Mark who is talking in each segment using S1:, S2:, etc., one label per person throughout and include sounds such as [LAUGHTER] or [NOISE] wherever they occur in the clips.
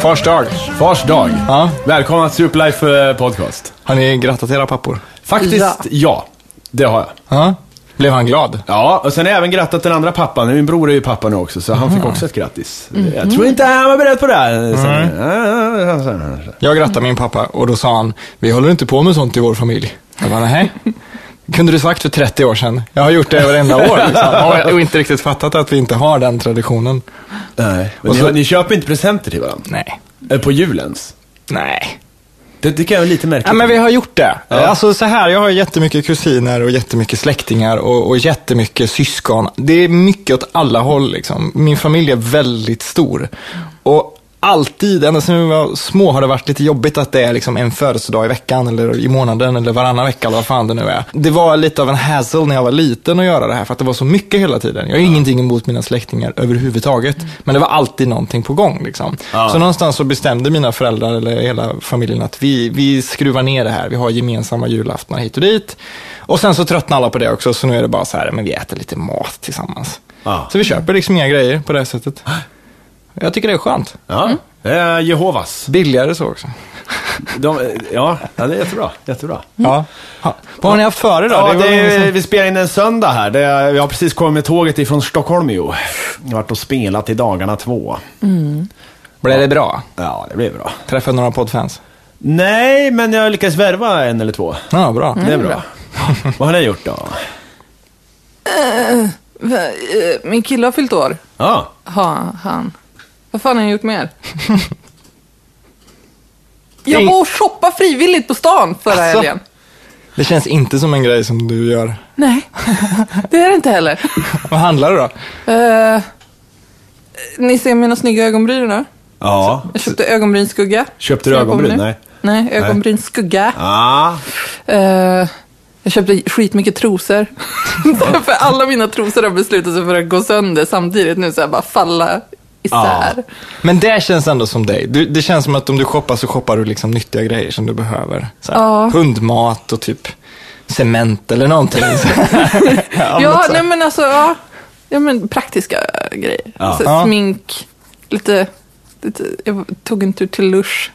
S1: Fars dag.
S2: Fars dag.
S1: Ja.
S2: Välkomna till Superlife eh, Podcast.
S1: Har ni grattat era pappor?
S2: Faktiskt,
S3: Ja.
S2: ja. Det har jag.
S1: Ja. Blev han glad?
S2: Ja, och sen har jag även grattat den andra pappan. Min bror är ju pappa nu också, så han fick också ett grattis.
S1: Mm.
S2: Jag tror inte han var beredd på det här. Sen, Ja, sen-
S1: Jag grattade min pappa och då sa han, vi håller inte på med sånt i vår familj. Jag bara, nej. kunde du sagt för 30 år sedan. Jag har gjort det varenda år. [LAUGHS] Liksom. Och- Och inte riktigt fattat att vi inte har den traditionen.
S2: Nej, men
S1: Och
S2: ni,
S1: så-
S2: ni köper inte presenter till varandra?
S1: Nej.
S2: Eh, På julens?
S1: Nej.
S2: Det tycker jag är lite märkligt.
S1: Ja, men vi har gjort det. Alltså så här, jag har jättemycket kusiner och jättemycket släktingar och, och jättemycket syskon. Det är mycket åt alla håll liksom. Min familj är väldigt stor. Och alltid, ända sedan vi var små, har det varit lite jobbigt att det är liksom en födelsedag i veckan eller i månaden eller varannan vecka eller vad fan det nu är. Det var lite av en hassle när jag var liten att göra det här för att det var så mycket hela tiden. Jag har ingenting emot mina släktingar överhuvudtaget, men det var alltid någonting på gång liksom.
S2: Mm. Ja.
S1: Så någonstans så bestämde mina föräldrar eller hela familjen att vi, vi skruvar ner det här. Vi har gemensamma julaftnar hit och dit. Och sen så tröttnade alla på det också, så nu är det bara så här, men vi äter lite mat tillsammans.
S2: Ja.
S1: Så vi köper liksom inga grejer på det här sättet. Jag tycker det är skönt.
S2: Ja, Eh, Jehovas.
S1: Billigare så också.
S2: Mm. De, eh, ja, ja, det är jättebra. jättebra.
S1: Ja. Ha. Vad har ni haft före då?
S2: Ja,
S1: var
S2: det liksom-
S1: länge
S2: är,
S1: sedan.
S2: vi spelar in en söndag här. Det är, jag har precis kommit med tåget ifrån Stockholm ju. Jag har varit och spelat i dagarna två.
S1: Blev det bra?
S2: Ja, det blir bra.
S1: Träffade några poddfans?
S2: Nej, men jag lyckades värva en eller två.
S1: Ja, bra.
S2: Mm. Det är [LAUGHS] bra. Vad har ni gjort då?
S3: Va- eh, Min kille har fyllt år.
S2: Ja,
S3: Ha, han. Vad fan har jag
S2: [LAUGHS]
S3: gjort mer?
S1: Det är-
S3: Jag var och shoppade frivilligt på stan förra
S2: Alltså.
S1: Asså?
S3: helgen.
S1: Det känns inte som en grej som du gör.
S3: Nej, [LAUGHS] det är det inte heller.
S1: Vad handlar det då?
S3: Eh, ni ser mina snygga ögonbryn nu.
S2: ja.
S3: Jag köpte ögonbrynsskugga.
S2: Köpte du
S3: Ser jag på
S2: ögonbryn?
S3: mig nu?
S2: Nej.
S3: Nej, ögonbrynsskugga.
S2: Ja,
S3: Eh, jag köpte skitmycket trosor. [LAUGHS] för alla mina trosor har beslutat sig för att gå sönder samtidigt nu, så jag bara falla isär.
S2: Ja.
S1: Men det känns ändå som dig. Du, det känns som att om du shoppar så shoppar du liksom nyttiga grejer som du behöver. Så här,
S3: Ja.
S1: Hundmat och typ cement eller någonting. [LAUGHS] Så- Ja, men
S3: Ja,
S1: så-
S3: nej men alltså, ja. ja men praktiska grejer.
S2: Ja.
S3: Alltså,
S1: Ja.
S3: Smink, lite, lite, jag tog en tur till Lush.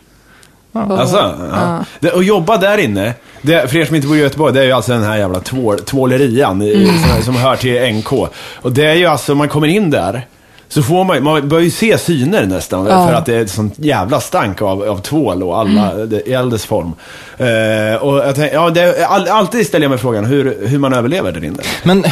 S3: Och-
S2: alltså. Ja. Det, och jobba där inne. Det, för er som inte bor i Göteborg, det är ju alltså den här jävla tvål, tvålerian i-
S3: Mm.
S2: som, som hör till NK. Och det är ju alltså, man kommer in där. Så får man, man börjar ju se syner nästan,
S3: Ja.
S2: för att det är ett sånt jävla stank av, av tvål och alla,
S3: Mm.
S2: det, i eldens form. Eh, och jag tänk, ja, det, all, alltid ställer jag mig frågan hur, hur man överlever där inne.
S1: Men eh,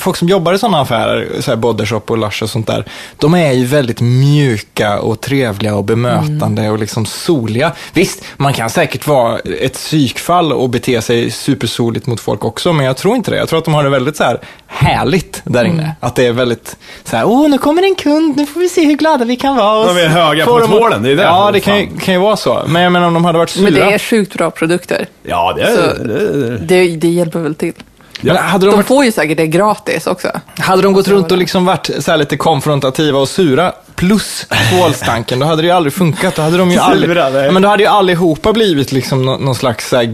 S1: folk som jobbar i sådana affärer, så här Bodyshop och Lush och sånt där, de är ju väldigt mjuka och trevliga och bemötande
S3: Mm.
S1: och liksom soliga. Visst, man kan säkert vara ett psykfall och bete sig supersoligt mot folk också, men jag tror inte det. Jag tror att de har det väldigt så här härligt där inne.
S3: Mm.
S1: Att det är väldigt så här, åh, nu kommer en kund, nu får vi se hur glada vi kan vara. Och
S2: De är
S1: så
S2: höga
S1: får
S2: på
S1: de-
S2: tvålen, det är det.
S1: Ja, det kan ju, kan ju vara så. Men jag menar om de hade varit sura.
S3: Men det är sjukt bra produkter.
S2: Ja, det,
S3: Så-
S2: det, det,
S3: Det, det hjälper väl till.
S1: Men hade de
S3: De
S1: varit
S3: får ju säkert det gratis också.
S1: Hade de gått runt och liksom varit så här lite konfrontativa och sura plus tvålstanken, då hade det ju aldrig funkat. Då hade de ju aldrig,
S2: [LAUGHS] Sura, nej.
S1: Ja, men då hade ju allihopa blivit liksom nå- någon slags så här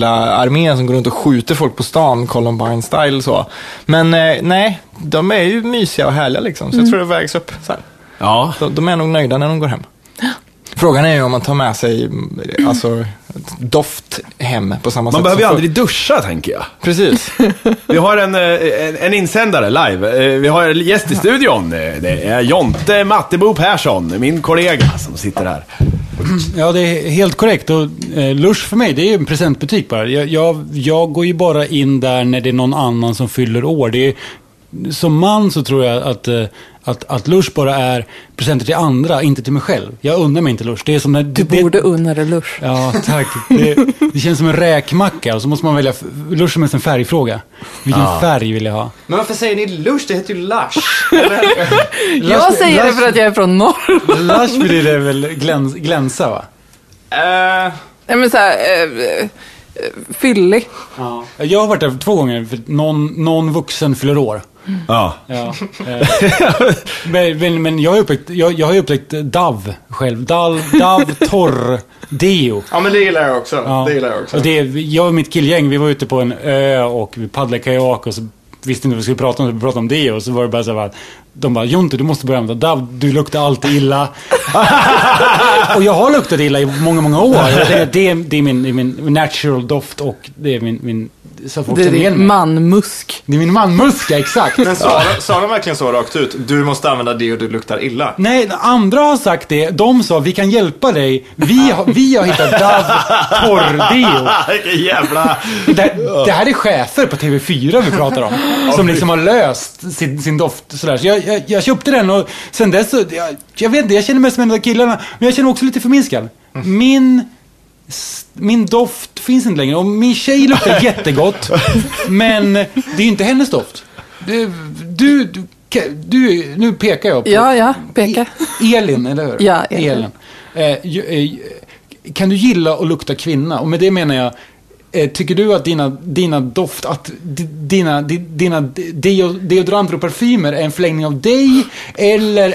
S1: gerillaarmé som går runt och skjuter folk på stan, Columbine style så. Men eh, nej, de är ju mysiga och härliga liksom, så
S2: Mm.
S1: jag tror det vägs upp. Så här.
S2: ja.
S1: De, de är nog nöjda när de
S2: [GASPS]
S1: går hem. Frågan är ju om man tar med sig mm, alltså, doft hem på samma sätt.
S2: Man behöver ju
S1: som
S2: aldrig duscha, tänker jag. [LAUGHS]
S1: förr. Precis.
S2: Vi har en, eh, en, en insändare live. Eh, Vi har en gäst i studion. Eh, Det är Jonte Mattebo Persson, min kollega som sitter här.
S4: Ja, det är helt korrekt. Och, eh, Lush för mig, det är ju en presentbutik bara. Jag, jag, jag går ju bara in där när det är någon annan som fyller år. Det är, som man så tror jag att, eh, att, att Lush bara är presenter till andra, inte till mig själv. Jag unnar mig inte Lush. Det är som när...
S3: Du
S4: det,
S3: borde unna dig Lush.
S4: Ja, tack. Det, det känns som en räkmacka och så måste man välja... f- Lush är mest en färgfråga. Vilken färg vill jag ha?
S1: Men varför säger ni lush? Det heter ju lush.
S3: Jag säger det för att jag är från norr. [LAUGHS]
S4: Lush betyder väl gläns, glänsa, va?
S1: Eh,
S3: Nej men såhär, eh, eh, fyllig.
S4: Ja. Jag har varit där två gånger, för någon, någon vuxen fyller år.
S2: Ja.
S1: [LAUGHS]
S4: Ja, eh, men, men, men jag har ju upptäckt, jag, jag har ju upptäckt Dove själv. Dove, Dove torr deo.
S1: [LAUGHS] Ja, men det gillar jag också.
S4: Ja.
S1: Det gillar jag också.
S4: Och det, jag och mitt killgäng, vi var ute på en ö och vi paddlade kajak och så visste inte vad vi skulle prata om, så vi pratade om det och så var det bara så här, va, de bara Jonte du måste börja använda DAV, du luktar alltid illa. [LAUGHS] och jag har luktat illa i många, många år. Jag tänker att det, är- det är min, det är min natural doft och det är min... min så att folk
S3: Det är
S4: känner igen
S3: din
S4: mig.
S3: manmusk.
S4: Det är min manmuska, exakt.
S1: Men sa, de- sa de verkligen så rakt ut? Du måste använda det och du luktar illa.
S2: Mm.
S1: [LAUGHS]
S4: Nej, andra har sagt det. De sa vi kan hjälpa dig. Vi har, vi har hittat DAV torrdeo.
S2: Vilken jävla...
S4: Det, det här är chefer på TV4 vi pratar om. Som liksom har löst sin, sin doft sådär. Så jag, jag, jag köpte den och sen dess så, jag, jag vet inte, jag känner mig som en av killarna. Men jag känner också lite förminskad. Min, s- min doft finns inte längre. Och min tjej luktar jättegott. Men det är ju inte hennes doft. Du, du, du, du nu pekar jag på...
S3: Ja, ja, peka.
S4: E- Elin, eller hur?
S3: Ja, Elin.
S4: Eh, ju- eh, ju- kan du gilla att lukta kvinna? Och med det menar jag, eh, tycker du att dina, dina doft, att di- dina, di- dina deo, deodoranter och parfymer är en förlängning av dig? Eller,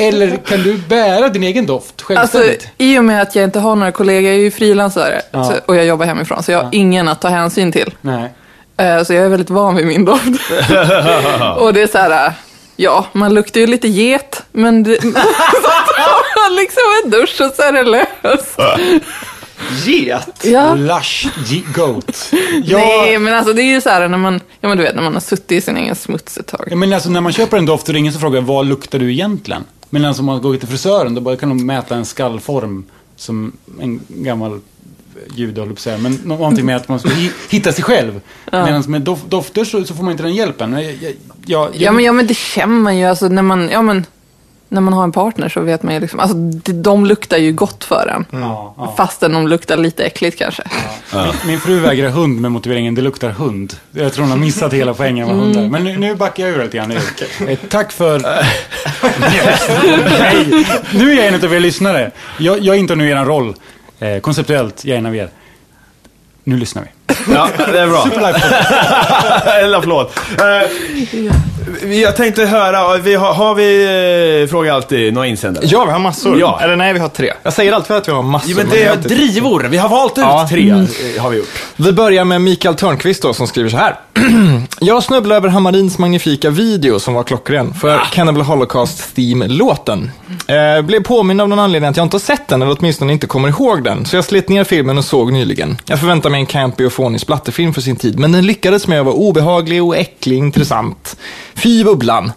S4: eller kan du bära din egen doft
S3: Alltså,
S4: självständigt?
S3: I och med att jag inte har några kollegor, jag är ju frilansare
S4: Ja.
S3: så- och jag jobbar hemifrån, så jag har ingen att ta hänsyn till.
S4: Nej.
S3: Eh, Så jag är väldigt van vid min doft.
S4: [LAUGHS]
S3: och det är så här, eh, ja, man luktar ju lite get, men det, [LAUGHS] så tar man liksom en dusch och så är det löst.
S1: Get!
S3: Ja.
S4: Lush ye- goat.
S3: Nej, men alltså det är ju så här när man, ja men du vet, när man har suttit i sin egen smuts ett tag.
S4: Ja, Men alltså när man köper en doft och ringer så frågar jag, vad luktar du egentligen? Medan om man går till frisören då bara kan de mäta en skallform som en gammal jude höll jag på att säga. Men nå- någonting med att man ska hi- hitta sig själv. Medan med dof dofter så, så får man inte den hjälpen. Jag, jag, jag, jag,
S3: Ja men, ja, men det känner man ju, alltså när man, ja men, när man har en partner så vet man ju liksom, alltså de, de luktar ju gott för en.
S4: Ja, ja.
S3: Fastän de luktar lite äckligt kanske.
S4: Min, min fru vägrar hund med motiveringen det luktar hund. Jag tror hon har missat hela poängen med hundar. Men nu, nu backar jag ur lite grann. nu. Eh, tack för... Yes. Nej. Nu är jag en av er lyssnare. Jag, jag intar nu er roll. Eh, konceptuellt, jag är en av er. Nu lyssnar vi.
S2: Ja, det är bra. en applåd. Eh, vi- Eh, jag tänkte höra, vi har, har vi, eh, fråga alltid, några insändare?
S1: Ja, vi har massor.
S2: Ja.
S1: Eller nej, vi har tre. Jag säger alltid att vi har massor.
S2: Jo, men
S1: men
S2: det
S1: jag
S2: är
S1: har inte-
S2: drivor. Vi har valt ut
S1: Ja.
S2: tre, eh, har vi gjort.
S1: Vi börjar med Mikael Törnqvist då, som skriver så här. [CLEARS THROAT] Jag snubblade över Hammarins magnifika video som var klockren för
S2: Ah.
S1: Cannibal Holocaust Theme-låten. Eh, blev påmind av någon anledning att jag inte har sett den, eller åtminstone inte kommer ihåg den. Så jag slet ner filmen och såg nyligen. Jag förväntade mig en campy och fånig splatterfilm för sin tid, men den lyckades med att vara obehaglig och äcklig intressant. Fy bubblan.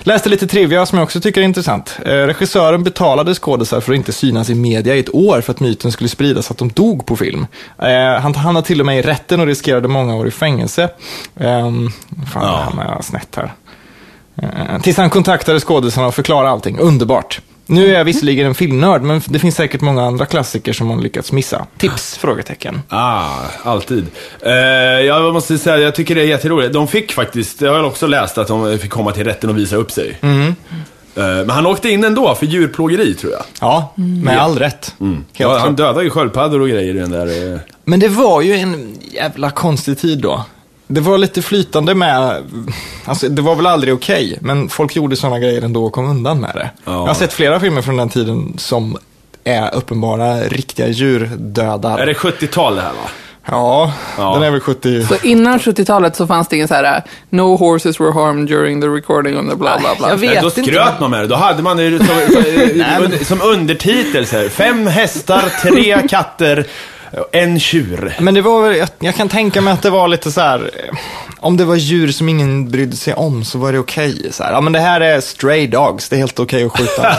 S1: Läste lite trivia som jag också tycker är intressant. Eh, regissören betalade skådisar för att inte synas i media i ett år för att myten skulle spridas att de dog på film. Eh, han hamnade till och med i rätten och riskerade många år i fängelse. Ehm,
S2: Ja.
S1: fan, ja. han är snett här. Eh, Tills han kontaktade skådisarna och förklarade allting. Underbart. Nu
S2: Mhm.
S1: är jag visserligen en filmnörd, men det finns säkert många andra klassiker som man lyckats missa. Tips? Frågetecken.
S2: Ah, alltid. Eh, jag måste säga, jag tycker det är jätteroligt. De fick faktiskt, jag har också läst att de fick komma till rätten och visa upp sig. Eh, men han åkte in ändå för djurplågeri, tror jag.
S1: Ja, med all rätt. Helt
S2: Mm. Ja,
S1: klart.
S2: han dödade ju sköldpaddor och grejer i den där... eh.
S1: Men det var ju en jävla konstig tid då. Det var lite flytande med, alltså det var väl aldrig okej, men folk gjorde sådana grejer ändå och kom undan med det.
S2: Ja.
S1: Jag har sett flera filmer från den tiden som är uppenbara riktiga djurdödar.
S2: Är det 70-tal det här va?
S1: Ja,
S2: Ja.
S1: den är väl 70...
S3: Så innan 70-talet så fanns det ingen så här, uh, no horses were harmed during the recording of the bla bla bla.
S5: Jag vet
S2: då
S5: inte.
S2: skröt man med det. Då hade man det som, under, som undertitel så här. Fem hästar, tre katter, en tjur.
S1: Men det var väl, jag, jag kan tänka mig att det var lite så här, eh, om det var djur som ingen brydde sig om så var det okej. så här. Ja men det här är stray dogs, det är helt okej att skjuta.
S2: [LAUGHS]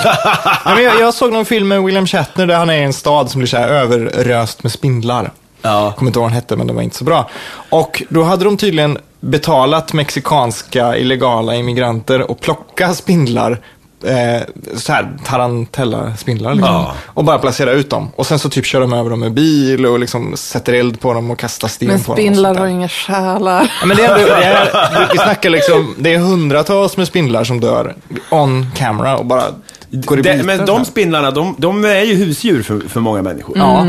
S1: ja, men jag, jag såg någon film med William Shatner där han är i en stad som blir så här överröst med spindlar.
S2: Ja.
S1: Kommer inte ihåg vad den hette men den var inte så bra. Och då hade de tydligen betalat mexikanska illegala immigranter och plocka spindlar Eh, så här, tarantella-spindlar liksom.
S2: Ja.
S1: Och bara placera ut dem. Och sen så typ kör de över dem med bil och liksom sätter eld på dem och kastar sten
S3: Men
S1: på dem. och sånt
S3: spindlar
S1: där.
S3: har inga själar.
S1: Ja, Men det är ändå, det är, vi snackar liksom, det är hundratals med spindlar som dör on camera och bara går i
S2: Det,
S1: bitar
S2: men
S1: så här.
S2: de spindlarna, de, de är ju husdjur för, för många människor.
S1: Ja.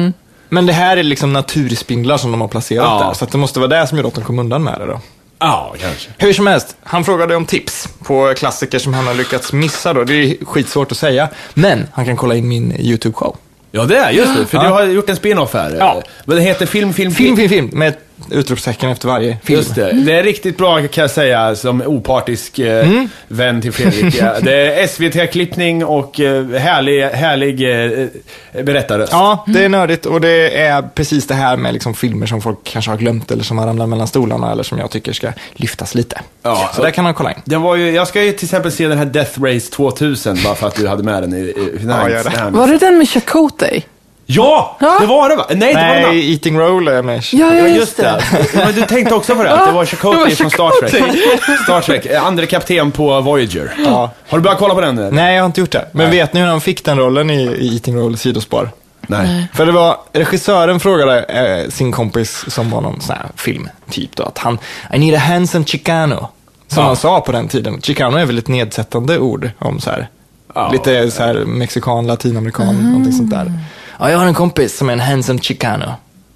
S1: Men det här är liksom naturspindlar som de har placerat
S2: Mm. Ja.
S1: där. Så att det måste vara det som gjorde att de kom undan med det då.
S2: Ja, kanske.
S1: Hur som helst, han frågade om tips på klassiker som han har lyckats missa då. Det är skitsvårt att säga. Men han kan kolla in min YouTube-show.
S2: Ja, det är just det. För du har gjort en spin-off här.
S1: Ja.
S2: Men det heter Film, film,
S1: Film, film, film med utropstecken efter varje film.
S2: Just det. Det är riktigt bra kan jag säga som opartisk eh, vän till Fredrik. Ja, det är SVT-klippning och eh, härlig, härlig eh, berättarröst.
S1: Ja, det
S2: Mm.
S1: är nördigt och det är precis det här med liksom filmer som folk kanske har glömt eller som har ramlat mellan stolarna eller som jag tycker ska lyftas lite.
S2: Ja.
S1: så där kan man kolla in.
S2: Den var ju, jag ska ju till exempel se den här Death Race 2000 bara för att du hade med den i, i
S1: Ja, gör det.
S2: den här-
S3: Var det den med Chakotay?
S2: Ja!
S3: Ja.
S2: Det var det va? Nej, det var den andra.
S1: Nej, Eating Roll är med.
S3: Ja, ja,
S2: Ja,
S3: just,
S2: just det. Men du tänkte också på det? Att det var Chakotay från Star Trek. Star Trek, eh, andre kapten på Voyager.
S1: Ja.
S2: Har du börjat kolla på den nu?
S1: Nej, jag har inte gjort det. Men
S2: Nej.
S1: vet ni hur han fick den rollen i, i Eating Roll sidospår?
S2: Nej.
S1: För det var, regissören frågade eh, sin kompis som var någon sån här filmtyp då, att han, I need a handsome Chicano. Som han sa på den tiden. Chicano är väl ett nedsättande ord om så här,
S2: Ja.
S1: lite så här mexikan, latinamerikan, någonting sånt där. Ja, jag har en kompis som är en handsome Chicano.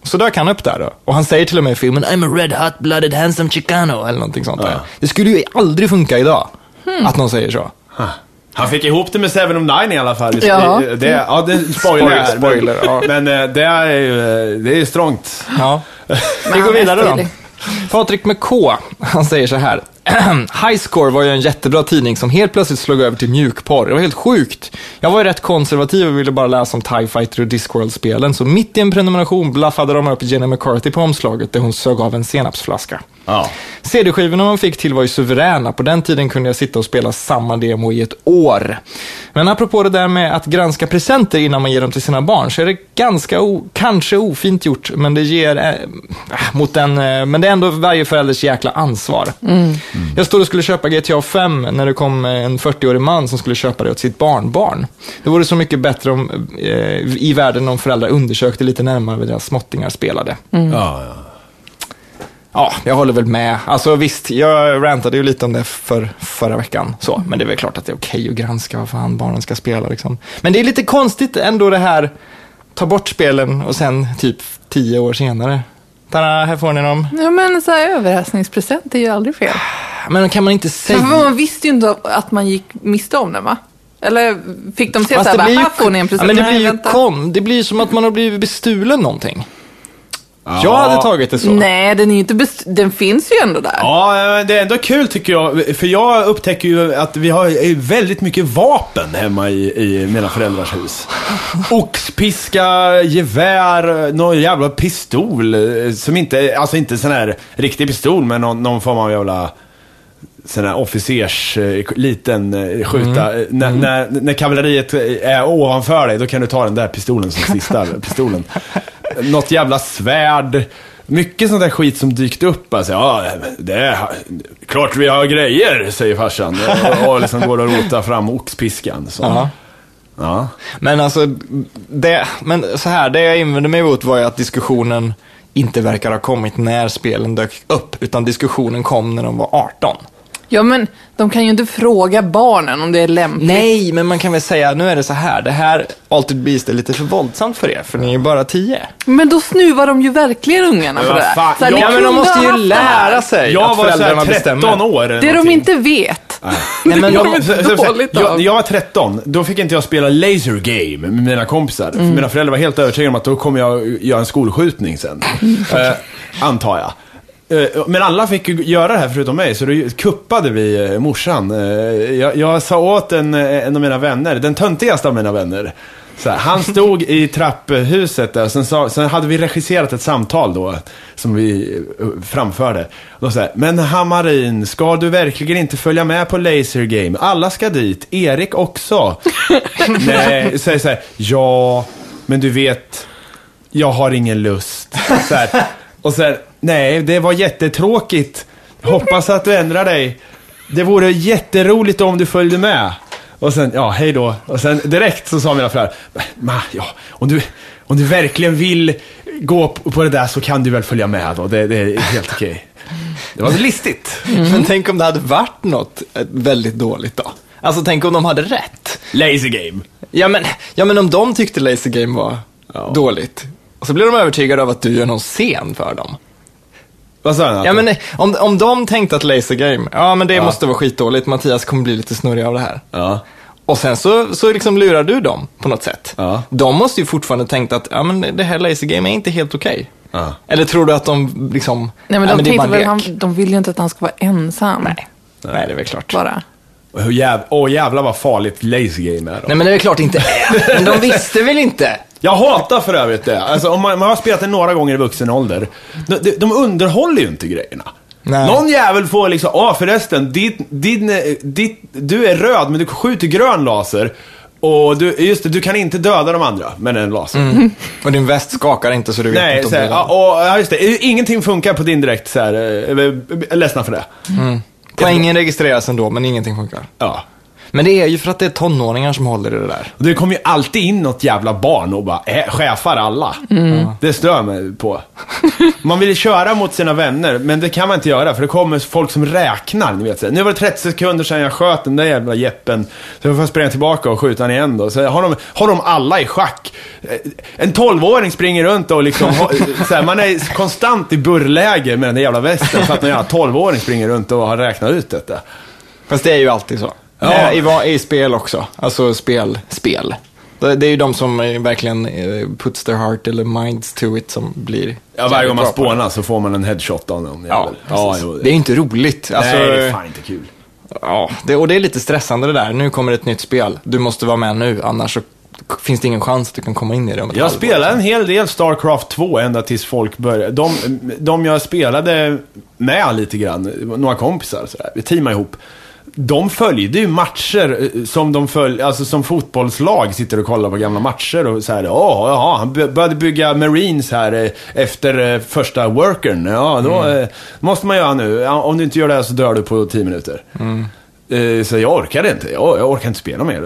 S1: Så dök han upp där då. Och han säger till och med i filmen, I'm a red hot blooded handsome Chicano, eller någonting sånt där.
S2: Ja.
S1: Det skulle ju aldrig funka idag, att någon säger så.
S2: Han fick ihop det med Seven of Nine i alla fall.
S3: Ja.
S2: Det, det, ja, det är spoiler. här, men-
S1: Spoiler, ja.
S2: Men eh, det är ju eh, det är ju strångt.
S1: Ja. Vi
S3: han
S1: går
S3: är
S1: vidare då.
S3: stilig.
S1: Patrik med K, han säger så här. [CLEARS THROAT] Highscore var ju en jättebra tidning som helt plötsligt slog över till mjukporr. Det var helt sjukt. Jag var ju rätt konservativ och ville bara läsa om TIE Fighter och Discworld-spelen, så mitt i en prenumeration blaffade de upp Jenny McCarthy på omslaget där hon sög av en senapsflaska.
S2: Ja.
S1: CD-skivorna man fick till var ju suveräna. På den tiden kunde jag sitta och spela samma demo i ett år. Men apropå det där med att granska presenter innan man ger dem till sina barn så är det ganska, o- kanske ofint gjort, men det ger, eh, mot den, eh, men det är ändå varje förälders jäkla ansvar. Jag stod och skulle köpa GTA 5 när det kom eh, en 40-årig man som skulle köpa det åt sitt barnbarn. Det vore så mycket bättre om, eh, i världen om föräldrar undersökte lite närmare vad deras småttingar spelade.
S2: Ja, ja.
S1: Ja, jag håller väl med. Alltså visst, jag rantade ju lite om det för, förra veckan. Så, men det är väl klart att det är okej att granska vad fan barnen ska spela. Liksom. Men det är lite konstigt ändå det här, ta bort spelen och sen typ tio år senare. Tada, här får ni dem.
S3: Ja, men så här överraskningspresent är ju aldrig fel.
S1: Men kan man inte
S3: Men
S1: säga...
S3: man visste ju inte att man gick miste om den, va? Eller fick de se så
S1: Fast
S3: här, bara,
S1: blir ju-
S3: här får ni en present.
S1: Ja, men det
S3: Nej,
S1: blir ju
S3: vänta.
S1: kom, det blir ju som att man har blivit bestulen någonting. Jag hade tagit det så.
S3: Nej, den, är ju inte best... den finns ju ändå där.
S2: Ja, men det är ändå kul tycker jag. För jag upptäcker ju att vi har eh, väldigt mycket vapen hemma i, i mina föräldrars hus. Oxpiska, gevär, eh, någon jävla pistol. eh, Som inte, alltså inte sån här riktig pistol, men någon, någon form av jävla sån här officers, eh, liten eh, skjuta.
S3: Mm.
S2: Eh, När, när, när kavalleriet eh, är ovanför dig, då kan du ta den där pistolen
S3: [LAUGHS]
S2: som sista pistolen. Något jävla svärd. Mycket sånt där skit som dykt upp. Alltså, ja, det är klart vi har grejer, säger farsan. Och, och liksom går och rotar fram oxpiskan. Så.
S1: Ja.
S2: Ja.
S1: Men alltså, det, men så här, det jag invände mig emot var ju att diskussionen inte verkar ha kommit när spelen dök upp, utan diskussionen kom när de var 18.
S3: Ja, men de kan ju inte fråga barnen om det är lämpligt.
S1: Nej, Typ, men man kan väl säga, nu är det så här, det här Altered Beast är lite för våldsamt för er, för ni är ju bara 10.
S3: Men då snuvar de ju verkligen ungarna på
S2: Men
S3: det
S2: vad fan,
S3: där. här,
S2: ja,
S3: ni
S2: men de
S3: kunde ha
S1: måste ju
S3: haft det här.
S1: lära sig.
S2: Jag
S1: att
S2: var så
S1: föräldrarna
S2: här 13
S1: bestämmer.
S2: år. eller
S3: Det de
S2: någonting.
S3: inte vet. [LAUGHS]
S1: Nej, men
S3: det
S1: jag-
S3: är
S2: Så-
S3: väl
S2: så- så-
S3: dåligt
S2: jag,
S3: av.
S2: jag var 13, då fick inte jag spela laser game med mina kompisar. För
S3: Mm.
S2: mina föräldrar var helt övertygade om att då kommer jag göra en skolskjutning sen.
S3: Mm.
S2: eh, antar jag. Eh, Men alla fick ju göra det här förutom mig, så då kuppade vi eh, morsan. Eh, Jag, jag sa åt en, eh, en av mina vänner, den töntigaste av mina vänner. Så här, han stod i trapphuset där, sen, sa, sen hade vi regisserat ett samtal då, som vi eh, framförde. Då så här, men Hammarin, ska du verkligen inte följa med på Laser Game? Alla ska dit, Erik också. Nej, säger så här, ja, men du vet, jag har ingen lust. Så här. Och sen, nej, det var jättetråkigt. Hoppas att du ändrar dig. Det vore jätteroligt om du följde med. Och sen, ja, hej då. Och sen direkt så sa mina föräldrar, ma, ja, om du, om du verkligen vill gå på på det där så kan du väl följa med då. Det, det är helt okej. Det var listigt.
S3: Mm.
S1: Men tänk om det hade varit något eh, väldigt dåligt då? Alltså tänk om de hade rätt?
S2: Lazy game.
S1: Ja men, ja, men om de tyckte Laser Game var dåligt, och så blir de övertygade av att du gör någon scen för dem.
S2: Vad sa han?
S1: Ja, men eh, om, om de tänkte att Laser Game, ja men det måste vara skitdåligt, Mattias kommer bli lite snurrig av det här.
S2: ja.
S1: Och sen så, så liksom lurar du dem på något sätt.
S2: Ja.
S1: De måste ju fortfarande tänkt att, ja men det här Laser Game är inte helt okej.
S2: Ja.
S1: Eller tror du att de liksom...
S3: Nej, men de,
S1: det är
S3: tänkte
S1: bara
S3: väl,
S1: lek.
S3: han, de vill ju inte att han ska vara ensam.
S1: Nej. Nej, det är väl klart.
S3: Bara.
S2: Åh jäv, oh, jävlar vad farligt Lazy Game är. Då.
S1: Nej, men det är väl klart
S3: [LAUGHS]
S1: inte är. Men de visste väl inte?
S2: Jag hatar för övrigt det. Alltså, om man, man har spelat det några gånger i vuxen ålder. De, de, de underhåller ju inte grejerna.
S1: Nej.
S2: Någon jävel får liksom, ah förresten, ditt, din, eh, ditt, du är röd men du skjuter grön laser. Och du, just det, du kan inte döda de andra med en laser.
S1: Och din väst skakar inte så du Mm. vet
S2: Nej,
S1: inte
S2: så
S1: om
S2: här,
S1: det är
S2: ja, och, ja, just det, ingenting funkar på din direkt så här, eh, eh, eh, ledsna för det.
S1: Poängen registreras ändå, men ingenting funkar.
S2: Ja.
S1: Men det är ju för att det är tonåringar som håller i det där.
S2: Och det kommer ju alltid in något jävla barn och bara eh, chefar alla. Det stör mig på. Man vill köra mot sina vänner, men det kan man inte göra för det kommer folk som räknar. Ni vet, så här, nu var det 30 sekunder sedan jag sköt den där jävla jeppen. Så jag får springa tillbaka och skjuta den igen då. Så har de, har de alla i schack. Eh, En 12-åring springer runt och liksom, har- så här, man är konstant i burrläge med den där jävla västen för att någon jävla 12-åring springer runt och har räknat ut detta.
S1: Fast det är ju alltid så.
S2: Ja.
S1: Eh, I, va- I spel också. Alltså spel, spel. Det det är ju de som eh, verkligen eh, puts their heart eller minds to it som blir
S2: Ja, varje gång man
S1: jävligt bra på det.
S2: spånar så får man en headshot av någon
S1: Ja,
S2: jävel.
S1: precis.
S2: jo,
S1: det är ju inte roligt. Alltså,
S2: Nej, det är fan inte kul.
S1: ja, det, och det är lite stressande det där. Nu kommer ett nytt spel. Du måste vara med nu, annars så k- finns det ingen chans att du kan komma in i det om ett
S2: Jag
S1: halvår.
S2: spelade en hel del Starcraft 2 ända tills folk började. De, de jag spelade med lite grann, några kompisar sådär, vi teamade ihop. De följde ju matcher eh, som de följ, alltså som fotbollslag sitter och kollar på gamla matcher och såhär, åh, jaha, han by- började bygga Marines här eh, efter eh, första workern. Ja, då eh, måste man göra nu. Ja, Om du inte gör det här så dör du på 10 minuter. Eh, Så jag orkade inte. Jag, jag orkar inte spela mer.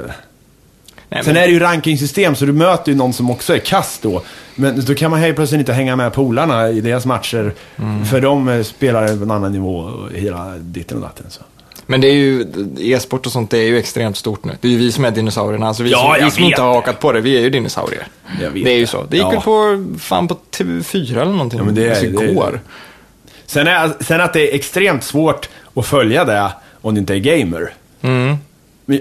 S1: Nej,
S2: Sen
S1: men,
S2: är det ju rankingsystem, så du möter ju någon som också är kast då. Men då kan man helt plötsligt inte hänga med polarna i deras matcher.
S1: Mm.
S2: För de eh, spelar på en annan nivå och hela ditten och datten. Så.
S1: men det är ju, e-sport och sånt det är ju extremt stort nu. Det är ju vi som är dinosaurierna. Alltså vi
S2: Ja,
S1: som,
S2: jag
S1: vi som
S2: vet
S1: inte har
S2: det.
S1: hakat på det, vi är ju dinosaurier.
S2: Jag vet
S1: det är ju
S2: det.
S1: så. Det gick
S2: Ja.
S1: väl på, fan på TV4 eller någonting.
S2: Ja, men det är-
S1: alltså,
S2: det är-
S1: igår.
S2: Sen, är, sen att det är extremt svårt att följa det om du inte är gamer.
S1: Mm.
S2: Men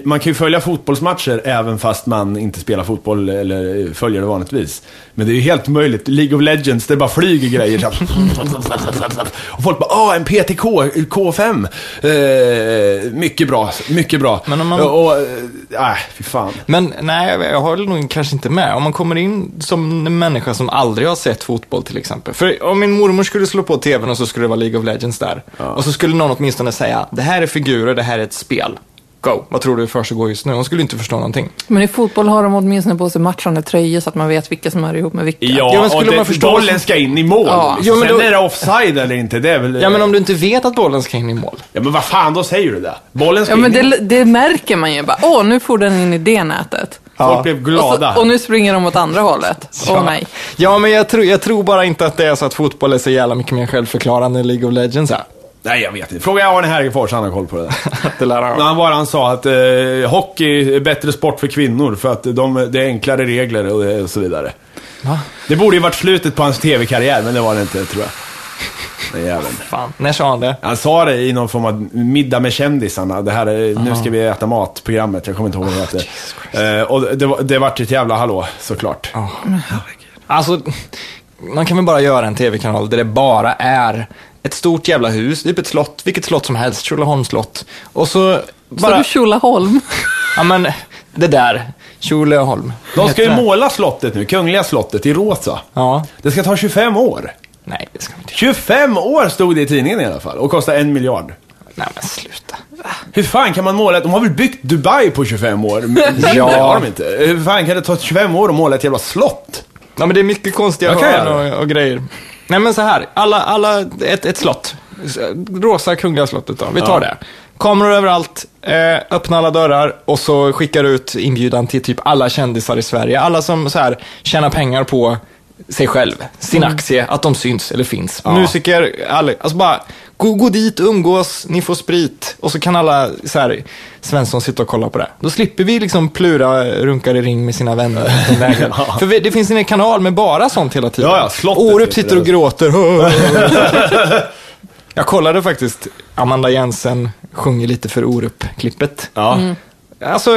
S2: Man kan ju följa fotbollsmatcher även fast man inte spelar fotboll eller följer det vanligtvis. Men det är ju helt möjligt. League of Legends, det bara flyger grejer. Så
S1: [LAUGHS]
S2: här. Och folk bara ”Åh, en PTK, K5!” eh, Mycket bra, mycket bra.
S1: Men om man-
S2: Och, eh, nej, fy fan.
S1: Men nej, jag- jag håller nog kanske inte med. Om man kommer in som en människa som aldrig har sett fotboll till exempel. För om min mormor skulle slå på tvn och så skulle det vara League of Legends där. Och så skulle någon åtminstone säga, det här är figurer, det här är ett spel. Go, vad tror du försiggår just nu? Hon skulle inte förstå någonting.
S2: Eh.
S3: Men i fotboll har de åtminstone på sig matchande tröjor så att man vet vilka som är ihop med vilka.
S1: Ja,
S2: Ja,
S1: men
S2: och
S1: skulle
S2: det,
S1: man förstå-
S2: bollen ska in i mål.
S3: Ja.
S2: Liksom.
S1: Jo, men
S2: Sen
S1: då-
S2: är det offside eller inte, det är väl...
S1: Ja, men om du inte vet att bollen ska in i mål.
S2: Ja, men vad fan, då säger du det. Bollen ska
S3: Ja,
S2: in
S3: men
S2: i
S3: det, det märker man ju bara. Åh, nu får den in i det nätet.
S2: Folk
S1: Ja.
S2: blev
S3: Och,
S2: glada.
S3: så, och nu springer de åt andra hållet. Åh nej.
S1: Ja, men jag tror, jag tror bara inte att det är så att fotboll är så jävla mycket mer självförklarande än League of Legends är.
S2: Nej, jag vet inte. Fråga Arne Hergerfors, han har koll på det där.
S1: [LAUGHS] Det lär
S2: När
S1: jag.
S2: han var han sa att eh, hockey är bättre sport för kvinnor för att de, det är enklare regler och det- och så vidare.
S1: Va?
S2: Det borde ju varit slutet på hans TV-karriär, men det var det inte, tror jag. Den jäveln.
S1: Fan, när sa han det?
S2: Han sa det i någon form av middag med kändisarna. Det här är, nu ska vi äta mat-programmet. Jag kommer inte ihåg vad det hette. Eh, och det, var- det vart ett jävla hallå, såklart.
S1: Alltså, man kan väl bara göra en tv-kanal där det bara är ett stort jävla hus, typ ett slott, vilket slott som helst, Tjolöholms slott. Och så
S3: Så
S1: bara,
S3: du Tjolaholm?
S1: ja men, det där, Tjolöholm.
S2: De ska ju
S1: Heter det?
S2: måla slottet nu, Kungliga slottet, i rosa.
S1: Ja.
S2: Det ska ta 25 år.
S1: Nej, det ska vi inte
S2: 25 år stod det i tidningen i alla fall och kostade en miljard.
S1: Nej men sluta.
S2: Hur fan kan man måla ett... De har väl byggt Dubai på 25 år? Men
S1: Ja.
S2: Det har de inte. Hur fan kan det ta 25 år att måla ett jävla slott?
S1: Ja men det är mycket konstiga
S2: Jag kan
S1: hörn
S2: göra
S1: och, och grejer. Nej men så här, alla, alla, ett, ett slott. Rosa Kungliga slottet då, vi tar
S2: Ja.
S1: det. Kameror överallt, eh, öppna alla dörrar och så skickar du ut inbjudan till typ alla kändisar i Sverige. Alla som så här tjänar pengar på sig själv, sin aktie, att de syns eller finns. Musiker, alla, alltså bara gå, gå dit, umgås, ni får sprit och så kan alla så här, Svensson sitta och kolla på det. Då slipper vi liksom plura runkar i ring med sina vänner. den vägen. För vi, det finns en kanal med bara sånt hela tiden.
S2: Ja, ja, slottet
S1: Orup
S2: heter
S1: sitter och
S2: det.
S1: gråter. [LAUGHS] Jag kollade faktiskt Amanda Jensen sjunger lite för Orup-klippet.
S2: Ja.
S1: Alltså,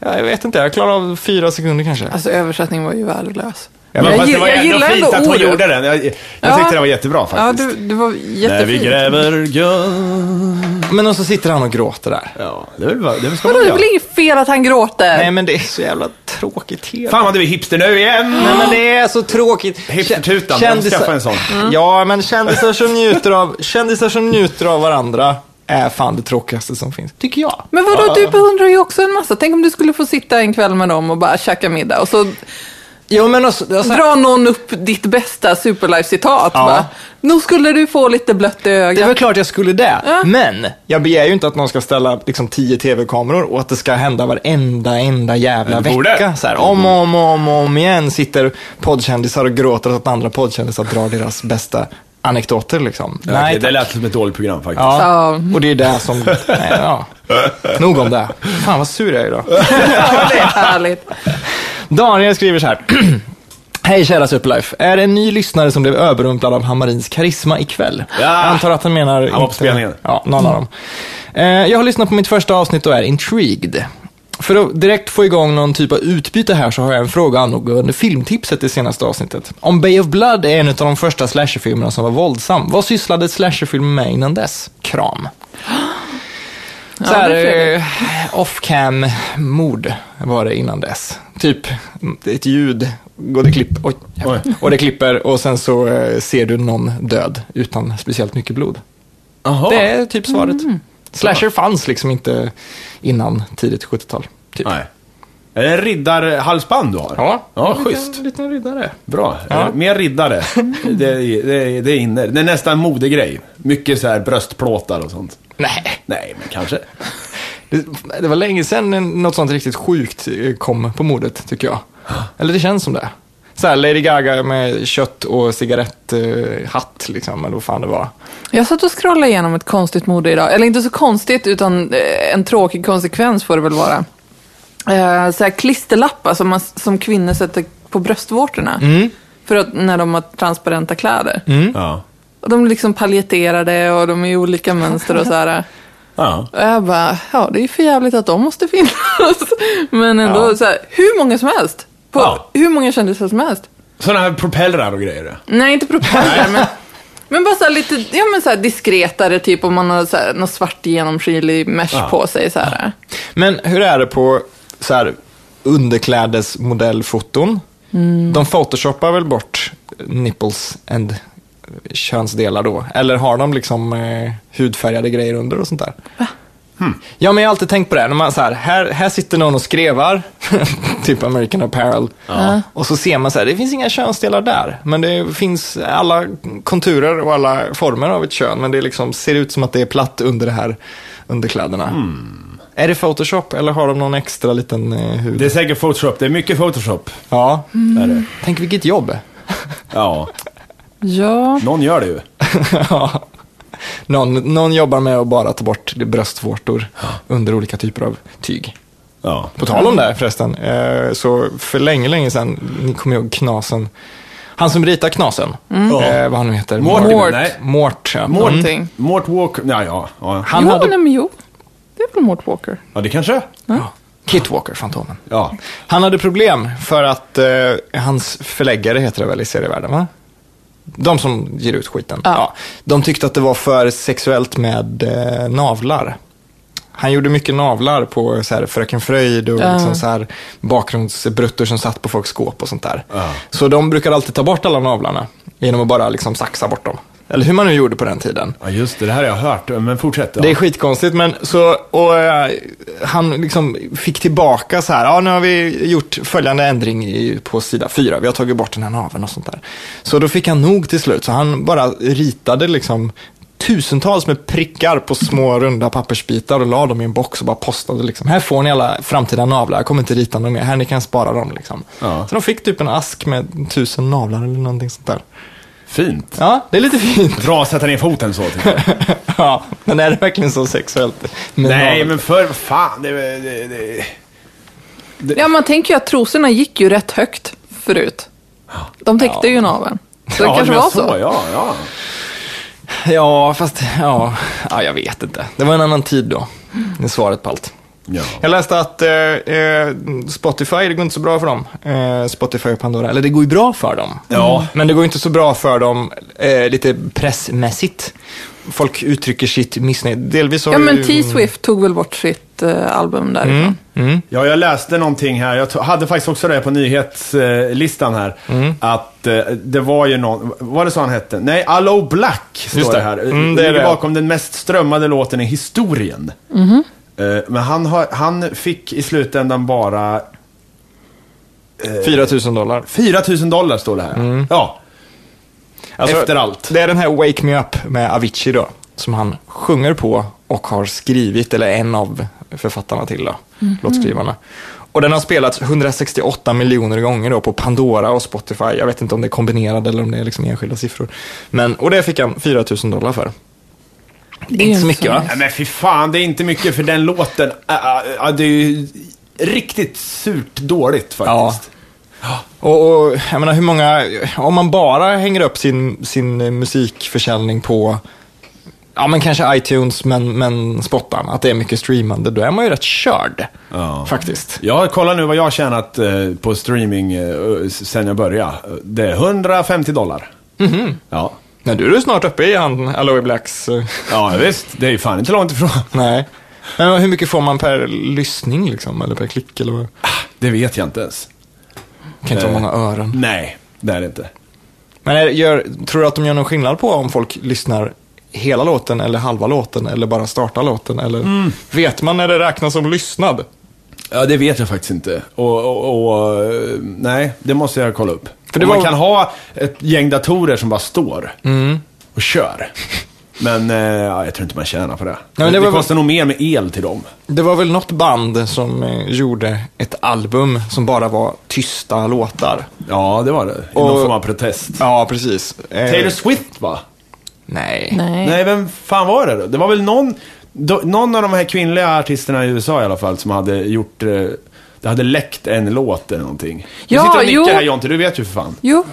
S1: jag vet inte, jag klarar av fyra sekunder kanske.
S3: Alltså översättningen var ju värdelös.
S2: Men
S3: Jag
S2: fast det
S3: gi-
S2: var
S3: jag
S2: ändå
S3: gillar
S2: fint
S3: ändå
S2: att hon
S3: ordet.
S2: gjorde den. Jag, jag
S3: Ja.
S2: tyckte den var jättebra
S3: Ja,
S2: faktiskt.
S3: du, du var
S2: När vi
S3: jättefin.
S2: gräver guld.
S1: Men och så sitter han och gråter där.
S2: Ja, det är väl vad- det ska
S3: Vadå,
S2: man
S3: det
S2: göra.
S3: blir inget fel att han gråter.
S1: Nej, men det är så jävla tråkigt tv.
S2: Fan vad du är hipster nu igen!
S1: Nej, men det är så tråkigt.
S2: Hipstertutan,
S1: Kä- Mm.
S2: jag måste skaffa en sån.
S1: Ja, men kändisar som, njuter av, kändisar som njuter av varandra är fan det tråkigaste som finns, tycker jag.
S3: Men vadå, du beundrar ju också en massa. Tänk om du skulle få sitta en kväll med dem och bara käka middag och så
S1: Jo, men alltså, alltså,
S3: drar någon upp ditt bästa Superlife-citat.
S1: Ja.
S3: Ja. Nog skulle du få lite blött i
S1: Det är väl
S3: ögat.
S1: klart jag skulle det. Men jag begär ju inte att någon ska ställa liksom, tio tv-kameror och att det ska hända varenda enda jävla
S2: Men det borde.
S1: vecka. Så här, om och om och om, och om igen sitter poddkändisar och gråter åt att andra poddkändisar drar deras bästa anekdoter. Liksom.
S2: Nej,
S1: Nej,
S2: det
S1: tack.
S2: lät som ett dåligt program faktiskt.
S1: ja.
S3: Ja.
S1: Och det är det som... Nej, ja. Nog om det. Fan vad sur jag
S2: [LAUGHS]
S1: är idag.
S3: [LAUGHS] Ja, det är härligt.
S1: Daniel skriver så här. [CLEARS THROAT] Hej kära Superlife. Är det en ny lyssnare som blev överrumplad av Hammarins karisma ikväll?
S2: Ja.
S1: Jag antar att han menar...
S2: var på spelningen.
S1: Ja, någon av dem. Eh, jag har lyssnat på mitt första avsnitt och är intrigued. För att direkt få igång någon typ av utbyte här så har jag en fråga angående filmtipset i senaste avsnittet. Om Bay of Blood är en av de första slasherfilmerna som var våldsam, vad sysslade slasherfilmen med innan dess? Kram.
S3: Ja,
S1: Så här,
S3: det är trevligt.
S1: eh, off-cam mord var det innan dess. Typ mm, det är ett ljud och det, klipp, oj, jävlar.
S2: Oj.
S1: och det klipper och sen så eh, ser du någon död utan speciellt mycket blod.
S2: Jaha.
S1: Det är typ svaret.
S3: Mm.
S1: Slasher fanns liksom inte innan tidigt 70-tal. Typ.
S2: Nej. Är det en riddarhalsband du har?
S1: Ja,
S2: Ja,
S1: en
S2: schysst.
S1: liten, liten riddare.
S2: Bra.
S1: Ja.
S2: Eh, Mer
S3: [LAUGHS]
S2: riddare. Det, är- det, är- det är inne. Det är nästan en modegrej. Mycket så här bröstplåtar och sånt.
S1: Nej,
S2: Nej, men kanske.
S1: det, det var länge sedan en- något sånt riktigt sjukt eh, kom på modet, tycker jag. Eller det känns som det. Så här, Lady Gaga med kött och cigaretthatt, liksom, eller vad fan det var.
S3: Jag satt och scrollade igenom ett konstigt mode idag. Eller inte så konstigt, utan eh, en tråkig konsekvens får det väl vara. Eh, Så här klisterlappar som, man, som kvinnor sätter på bröstvårtorna.
S1: Mm.
S3: För att, när de har transparenta kläder.
S2: Ja.
S3: Och de är liksom paljetterade och de är i olika mönster och så här.
S2: Ja.
S3: Och jag bara, ja det är ju för jävligt att de måste finnas. [LAUGHS] Men ändå,
S2: Ja.
S3: så här, hur många som helst. På
S2: Ja.
S3: hur många kändisar som helst.
S2: Sådana här propellrar och grejer.
S3: Nej, inte propeller, men, men bara så här lite ja, men så här diskretare, typ om man har så här, något svart genomskinlig mesh
S2: Ja.
S3: på sig. Så här.
S1: Men hur är det på så här, underklädesmodellfoton? De photoshoppar väl bort nipples and könsdelar då? Eller har de liksom eh, hudfärgade grejer under och sånt där? Ja, men jag har alltid tänkt på det. här. När man, så här, här, här sitter någon och skrevar, [LAUGHS] typ American Apparel. Och så ser man så här, det finns inga könsdelar där. Men det finns alla konturer och alla former av ett kön. Men det liksom ser ut som att det är platt under det här underkläderna. Är det Photoshop eller har de någon extra liten eh, hud?
S2: Mm. Det är säkert Photoshop. Det är mycket Photoshop.
S1: Ja.
S2: Är det.
S1: Tänk vilket jobb. [LAUGHS]
S2: Ja.
S3: Ja.
S2: Någon gör det ju.
S1: Ja. någon, någon jobbar med att bara ta bort bröstvårtor under olika typer av tyg.
S2: Ja.
S1: På tal om det här förresten, eh, så för länge, länge sedan, ni kommer ihåg Knasen. Han som ritar Knasen, eh, vad han nu heter.
S2: Mårten,
S1: Mårt.
S2: nej.
S1: Mårt, ja. Mm.
S2: Mort,
S3: Någonting.
S2: Mort Walker. Ja, ja. ja.
S1: Han
S3: jo,
S1: hade-
S3: nej, men jo. Det är väl Mort Walker.
S2: Ja, det kanske.
S1: Ja. Kit Walker, Fantomen.
S2: Ja.
S1: Han hade problem för att eh, hans förläggare heter det väl i serievärlden, va? De som ger ut skiten.
S3: Ja.
S1: De tyckte att det var för sexuellt med eh, navlar. Han gjorde mycket navlar på så här, Fröken Fröjd och liksom så här, bakgrundsbruttor som satt på folks skåp och sånt där.
S2: Ja.
S1: Så de brukar alltid ta bort alla navlarna genom att bara liksom saxa bort dem. Eller hur man nu gjorde på den tiden.
S2: Ja, just det. Det här har jag hört. Men fortsätt. Ja.
S1: Det är skitkonstigt, men så, och eh, han liksom fick tillbaka så här, ja nu har vi gjort följande ändring i, på sida 4, vi har tagit bort den här naveln och sånt där. Så då fick han nog till slut, så han bara ritade liksom tusentals med prickar på små runda pappersbitar och la dem i en box och bara postade liksom, här får ni alla framtida navlar, jag kommer inte rita några mer, här ni kan spara dem liksom.
S2: Ja.
S1: Så de fick typ en ask med tusen navlar eller någonting sånt där.
S2: Fint.
S1: Ja, det är lite fint. [LAUGHS]
S2: Bra att sätta ner foten så, tycker
S3: [LAUGHS]
S2: jag.
S1: Ja, men är det verkligen så sexuellt? med
S2: Nej,
S1: navlar?
S2: men för fan. Det, det, det.
S3: Ja, man tänker ju att trosorna gick ju rätt högt förut. De täckte ju naveln. Så det
S2: Ja,
S3: kanske
S2: men
S3: var så.
S2: Ja, ja.
S1: Ja, fast ja, ja, jag vet inte. Det var en annan tid då. Det är svaret på allt.
S2: Ja.
S1: Jag läste att eh, eh, Spotify, det går inte så bra för dem. Eh, Spotify och Pandora. Eller det går ju bra för dem. Mm.
S2: Ja.
S1: Men det går inte så bra för dem eh, lite pressmässigt. Folk uttrycker sitt missnöje. Delvis har Mm.
S3: Ja,
S1: ju-
S3: men T-Swift tog väl bort sitt eh, album därifrån.
S2: Ja, jag läste någonting här. Jag to- hade faktiskt också det på nyhetslistan här.
S1: Mm.
S2: Att eh, det var ju någon, var det så han hette? Nej, Allo Black står
S1: Just
S2: det.
S1: det.
S2: här.
S1: Mm, det är
S2: ligger
S1: det.
S2: bakom den mest strömmade låten i historien. Eh, men han, har, han fick i slutändan bara
S1: 4 000 dollar.
S2: 4 000 dollar står det här. Ja.
S1: Mm. Alltså,
S2: Efter allt.
S1: Det är den här Wake Me Up med Avicii då, som han sjunger på och har skrivit, eller en av författarna till då, låtskrivarna. Och den har spelats 168 miljoner gånger då på Pandora och Spotify. Jag vet inte om det är kombinerade eller om det är liksom enskilda siffror. Men, och det fick han 4 000 dollar för.
S3: Det
S1: är inte så mycket, va?
S2: Nej, men fy fan, det är inte mycket för den låten. Äh, äh, äh, det är ju riktigt surt dåligt faktiskt.
S1: Och, och jag menar hur många, om man bara hänger upp sin, sin eh, musikförsäljning på Ja men kanske iTunes men, men spottan, att det är mycket streamande, då är man ju rätt körd.
S2: Ja.
S1: Faktiskt.
S2: Jag kollar nu vad jag har tjänat eh, på streaming eh, sen jag började. Det är 150 dollar.
S1: Mhm.
S2: Ja.
S1: Men du är ju snart uppe i han Aloe Blacks. eh,
S2: ja, visst. Det är ju fan inte långt ifrån.
S1: Nej. Men hur mycket får man per lyssning liksom, eller per klick eller vad?
S2: Ah, Det vet jag inte ens.
S1: Kan inte ha
S2: Eh.
S1: många öron.
S2: Nej, det är det inte.
S1: Men är, gör, tror du att de gör någon skillnad på om folk lyssnar hela låten eller halva låten eller bara startar låten? Eller
S2: Mm.
S1: vet man när det räknas som lyssnad?
S2: Ja, det vet jag faktiskt inte. Och, och, och eh, nej, det måste jag kolla upp. För
S1: För det
S2: Man
S1: var- Mm.
S2: kan ha ett gäng datorer som bara står och kör. Men eh, ja, jag tror inte man tjänar på det.
S1: men
S2: det
S1: det var-
S2: kostar nog mer med el till dem.
S1: Det var väl något band som eh, gjorde ett album som bara var tysta låtar.
S2: Ja, det var det. I någon
S1: Och-
S2: form av protest.
S1: Ja, precis. Eh,
S2: Taylor Swift, va?
S1: Nej.
S3: Nej.
S2: Nej, vem fan var det då? Det var väl någon, då, någon av de här kvinnliga artisterna i USA i alla fall som hade gjort... Eh, det hade läckt en låt eller någonting.
S3: Ja,
S2: du sitter och nickar
S3: jo.
S2: här Jonte, du vet ju för fan.
S3: Jo,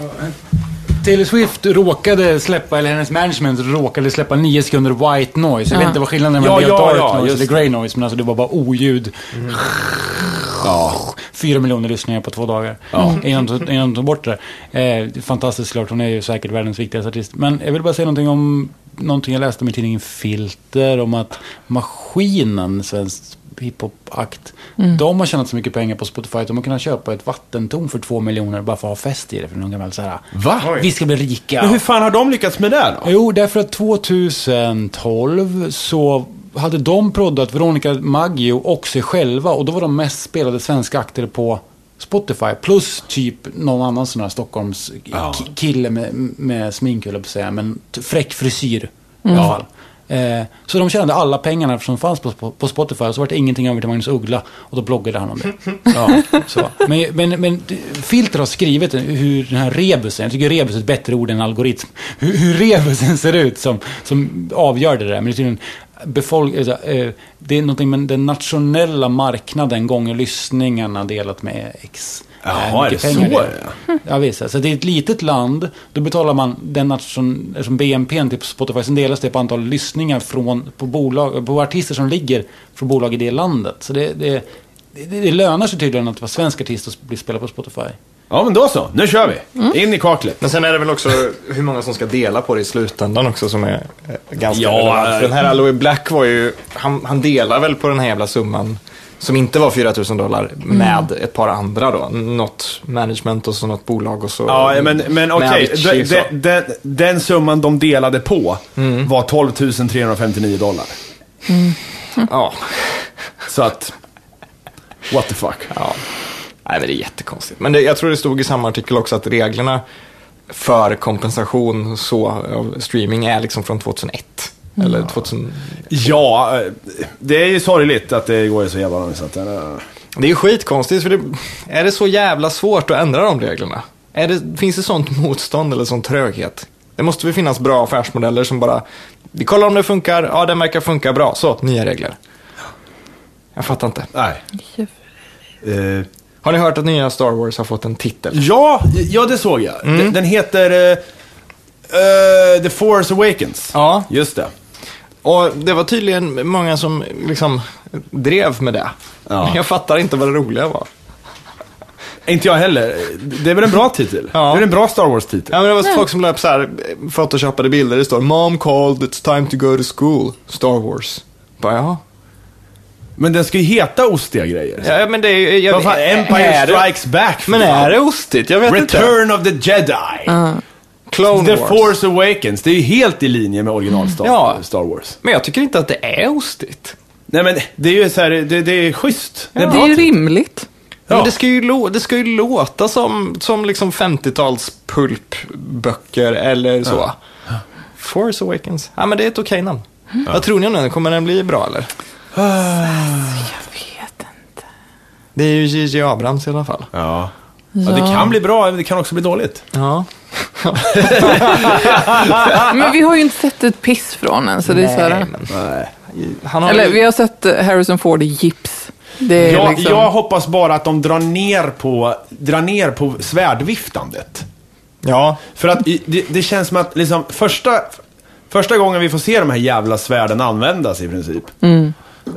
S4: Taylor Swift råkade släppa, eller hennes management råkade släppa nio sekunder white noise. Jag vet inte vad skillnaden är mellan
S2: Ja,
S4: det och
S2: ja,
S4: dark
S2: ja,
S4: noise
S2: just
S4: eller grey noise. Men alltså det var bara oljud. Fyra miljoner lyssningar på två dagar. Mm. Innan de- innan de tog bort det. Eh, det är fantastiskt klart, hon är ju säkert världens viktigaste artist. Men jag vill bara säga någonting om någonting jag läste om i tidningen Filter. Om att Maskinen, svensk hiphop-akt.
S2: Mm.
S4: De har tjänat så mycket pengar på Spotify att de har kunnat köpa ett vattentorn för två miljoner bara för att ha fest i det. För någon gammal så här,
S2: Va?
S4: vi ska bli rika.
S2: Men hur fan har de lyckats med det då?
S4: Jo, därför att 2012 så hade de proddat Veronica Maggio och sig själva och då var de mest spelade svenska akter på Spotify plus typ någon annan sån här Stockholms
S2: Ja.
S4: ki- kille med, med smink höll jag på att säga, men t- fräck frisyr i alla fall. Eh, så de tjänade alla pengarna som fanns på, på, på Spotify och så var det ingenting över till Magnus Uggla och då bloggade han om det. Ja, så. Men, men, men Filter har skrivit hur den här rebusen, jag tycker rebus är ett bättre ord än algoritm, hur, hur rebusen ser ut som, som avgör det där. Men det är tydligen befolk- alltså, eh, det är någonting med den nationella marknaden gånger lyssningarna delat med X.
S2: Jaha,
S4: Eh, mycket
S2: är det
S4: pengar
S2: så
S4: är. Ja, visst. Så det är ett litet land. Då betalar man den nation, som BNP till Spotify. Sen delas det på antal lyssningar från, på, bolag, på artister som ligger från bolag i det landet. Så det, det, det, det lönar sig tydligen att vara svensk artist och bli spelad på Spotify.
S2: Ja, men då så. Nu kör vi.
S3: Mm.
S2: In i kaklet.
S1: Men sen är det väl också hur många som ska dela på det i slutändan också som är eh, ganska
S2: Ja,
S1: relevant.
S2: eh.
S1: För den här Aloe Black var ju, han, han delar väl på den här jävla summan som inte var 4 000 dollar med ett par andra då. Något management och så något bolag och så.
S2: Ja, men, men
S1: med
S2: okej.
S1: Mm. Avicii
S2: Den,
S1: så. Mm.
S2: den, den, den summan de delade på var 12 359 dollar.
S1: Ja.
S2: Så att... What the fuck.
S1: Ja. Nej, men det är jättekonstigt. Men det, jag tror det stod i samma artikel också att reglerna för kompensation så av streaming är liksom från 2001. Eller 2000...
S2: Ja, eh, det är ju sorgligt att det går så jävla långsamt. Eh,
S1: Det är skitkonstigt, för det, är det så jävla svårt att ändra de reglerna? Är det, finns det sånt motstånd eller sån tröghet? Det måste väl finnas bra affärsmodeller som bara, vi kollar om det funkar, ja den verkar funka bra, så, nya regler. Jag fattar inte.
S2: Nej. Eh,
S1: Har ni hört att nya Star Wars har fått en titel?
S2: Ja, ja det såg jag.
S1: Mm.
S2: Den, den heter eh, eh, The Force Awakens.
S1: Ja.
S2: Just det.
S1: Och det var tydligen många som liksom drev med det.
S2: Ja.
S1: [LAUGHS] Jag fattar inte vad det roliga var.
S2: Inte jag heller. Det är väl en bra titel?
S1: Ja.
S2: Det är en bra Star Wars-titel?
S1: Ja, men det var folk som la upp så här, eh, photoshopade bilder. Det står “Mom called, it's time to go to school, Star Wars”. Bara, ja.
S2: Men den ska ju heta ostiga grejer.
S1: ja men det är ju... jag-
S2: Vad fan, Empire
S1: är det-
S2: Strikes Back för
S1: Men
S2: fan.
S1: är det ostigt? Jag vet inte.
S2: Return of the Jedi!
S1: Clone
S2: The
S1: Wars.
S2: Force Awakens. Det är ju helt i linje med original Star,
S1: Ja.
S2: Star Wars.
S1: Men jag tycker inte att det är ostigt.
S2: Nej men, det är ju så här, det, det är schysst. Det är
S3: Det är
S2: bra.
S3: ju
S1: [LAUGHS]
S3: rimligt.
S2: Ja.
S1: Men det ska ju, lå- det ska ju låta som, som liksom 50-tals pulpböcker eller så. Force Awakens. Ja, men det är ett okej namn.
S3: Mm.
S1: Vad tror ni om den? Kommer den bli bra eller?
S3: Jag vet inte.
S1: Det är ju J.J. Abrams i alla fall.
S2: Ja. ja. Det kan bli bra, men det kan också bli dåligt.
S1: Ja.
S3: Men vi har ju inte sett ett piss från den, så det är så här.
S1: men,
S2: Nej.
S1: han har
S3: Eller
S1: ju-
S3: vi har sett eh, Harrison Ford i gips. Det är
S2: Jag,
S3: liksom...
S2: jag hoppas bara att de drar ner på, drar ner på svärdviftandet.
S1: Ja.
S2: För att i- det, det känns som att liksom, första, första gången vi får se de här jävla svärden användas i princip.
S3: Mm.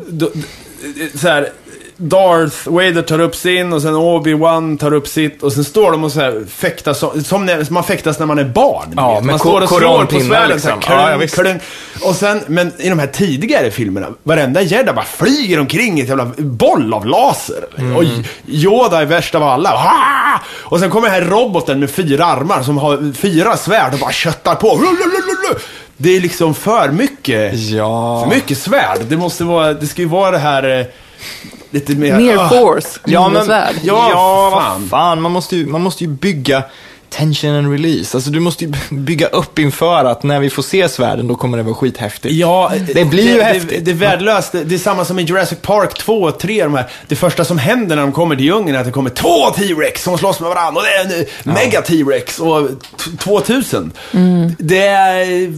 S2: Då, d- så här, Darth Vader tar upp sin och sen Obi-Wan tar upp sitt och sen står de och så här fäktas som, som när, som man fäktas när man är barn. ni
S1: Ja,
S2: vet.
S1: med
S2: man
S1: ko-
S2: står och slår på
S1: koranpinnar
S2: svärden
S1: liksom.
S2: så här, klung,
S1: Ja, ja, visst.
S2: klung. Och sen, men i de här tidigare filmerna, varenda Jedi bara flyger omkring i ett jävla boll av laser. Och Yoda är värst av alla. Ah! Och sen kommer den här roboten med fyra armar som har fyra svärd och bara köttar på. Lululululu. Det är liksom för mycket,
S1: Ja.
S2: för mycket svärd. Det måste vara, det ska ju vara det här eh, lite mer...
S3: Mer
S2: ah.
S3: force,
S1: Ja,
S3: mindre
S1: men, ja,
S3: svärd.
S2: Ja,
S1: fan.
S2: fan.
S1: fan. Man måste, ju, man måste ju bygga tension and release. Alltså du måste ju bygga upp inför att när vi får se svärden då kommer det vara skithäftigt.
S2: Ja,
S1: Typ. Det blir ju
S2: det, Det,
S1: häftigt.
S2: det är värdelöst. Det, det är samma som i Jurassic Park 2 och 3. De här, det första som händer när de kommer till djungeln är att det kommer två T-Rex som slåss med varandra. Och det är en eh, mega T-Rex och t- 2000.
S1: Mm.
S2: Det är...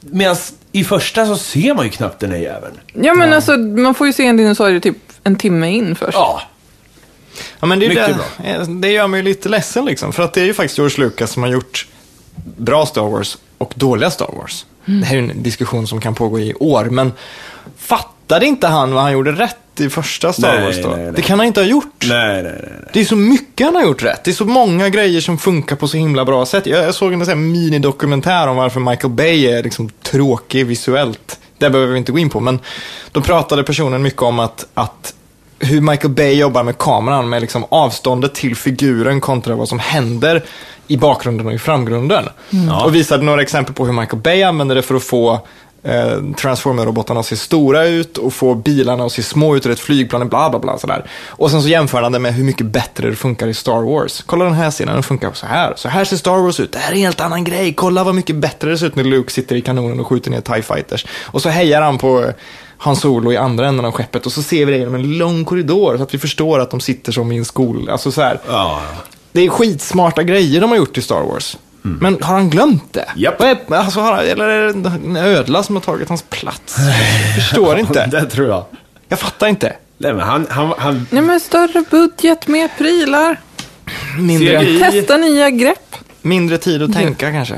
S2: Medan i första så ser man ju knappt den här jäveln.
S3: Ja, men alltså, man får ju se en dinosaurie typ en timme in först.
S2: Ja.
S1: Ja, men det, är ju
S2: Mycket
S1: det, Eh, det gör mig ju lite ledsen liksom. För att det är ju faktiskt George Lucas som har gjort bra Star Wars och dåliga Star Wars. Det här är ju en diskussion som kan pågå i år, men fattade inte han vad han gjorde rätt i första Star
S2: Nej,
S1: Wars då?
S2: nej, nej.
S1: Det kan han inte ha gjort.
S2: Nej, nej, nej.
S1: Det är så mycket han har gjort rätt. Det är så många grejer som funkar på så himla bra sätt. Jag, jag såg en sån här minidokumentär om varför Michael Bay är liksom tråkig visuellt. Det behöver vi inte gå in på, men då pratade personen mycket om att, att hur Michael Bay jobbar med kameran, med liksom avståndet till figuren kontra vad som händer i bakgrunden och i framgrunden. Och visade några exempel på hur Michael Bay använder det för att få eh, Transformer-robotarna att se stora ut och få bilarna att se små ut ur ett flygplan, bla bla bla sådär. Och sen så jämför han det med hur mycket bättre det funkar i Star Wars. Kolla den här scenen, den funkar så här. Så här ser Star Wars ut, det här är en helt annan grej. Kolla vad mycket bättre det ser ut när Luke sitter i kanonen och skjuter ner TIE fighters. Och så hejar han på Han Solo i andra änden av skeppet och så ser vi det genom en lång korridor så att vi förstår att de sitter som i en skol. Alltså så här.
S2: Ja.
S1: Det är skitsmarta grejer de har gjort i Star Wars. Men har han glömt det?
S2: Mm. Japp.
S1: Vad är- Alltså, har han, eller är det en ödla som har tagit hans plats? Jag
S2: [LAUGHS]
S1: förstår inte.
S2: Det tror jag.
S1: Jag fattar inte.
S2: Nej, men han... han, han
S3: Nej, men större budget, mer prylar.
S1: Mindre,
S2: CGI.
S3: Testa nya grepp.
S1: mindre tid att tänka kanske.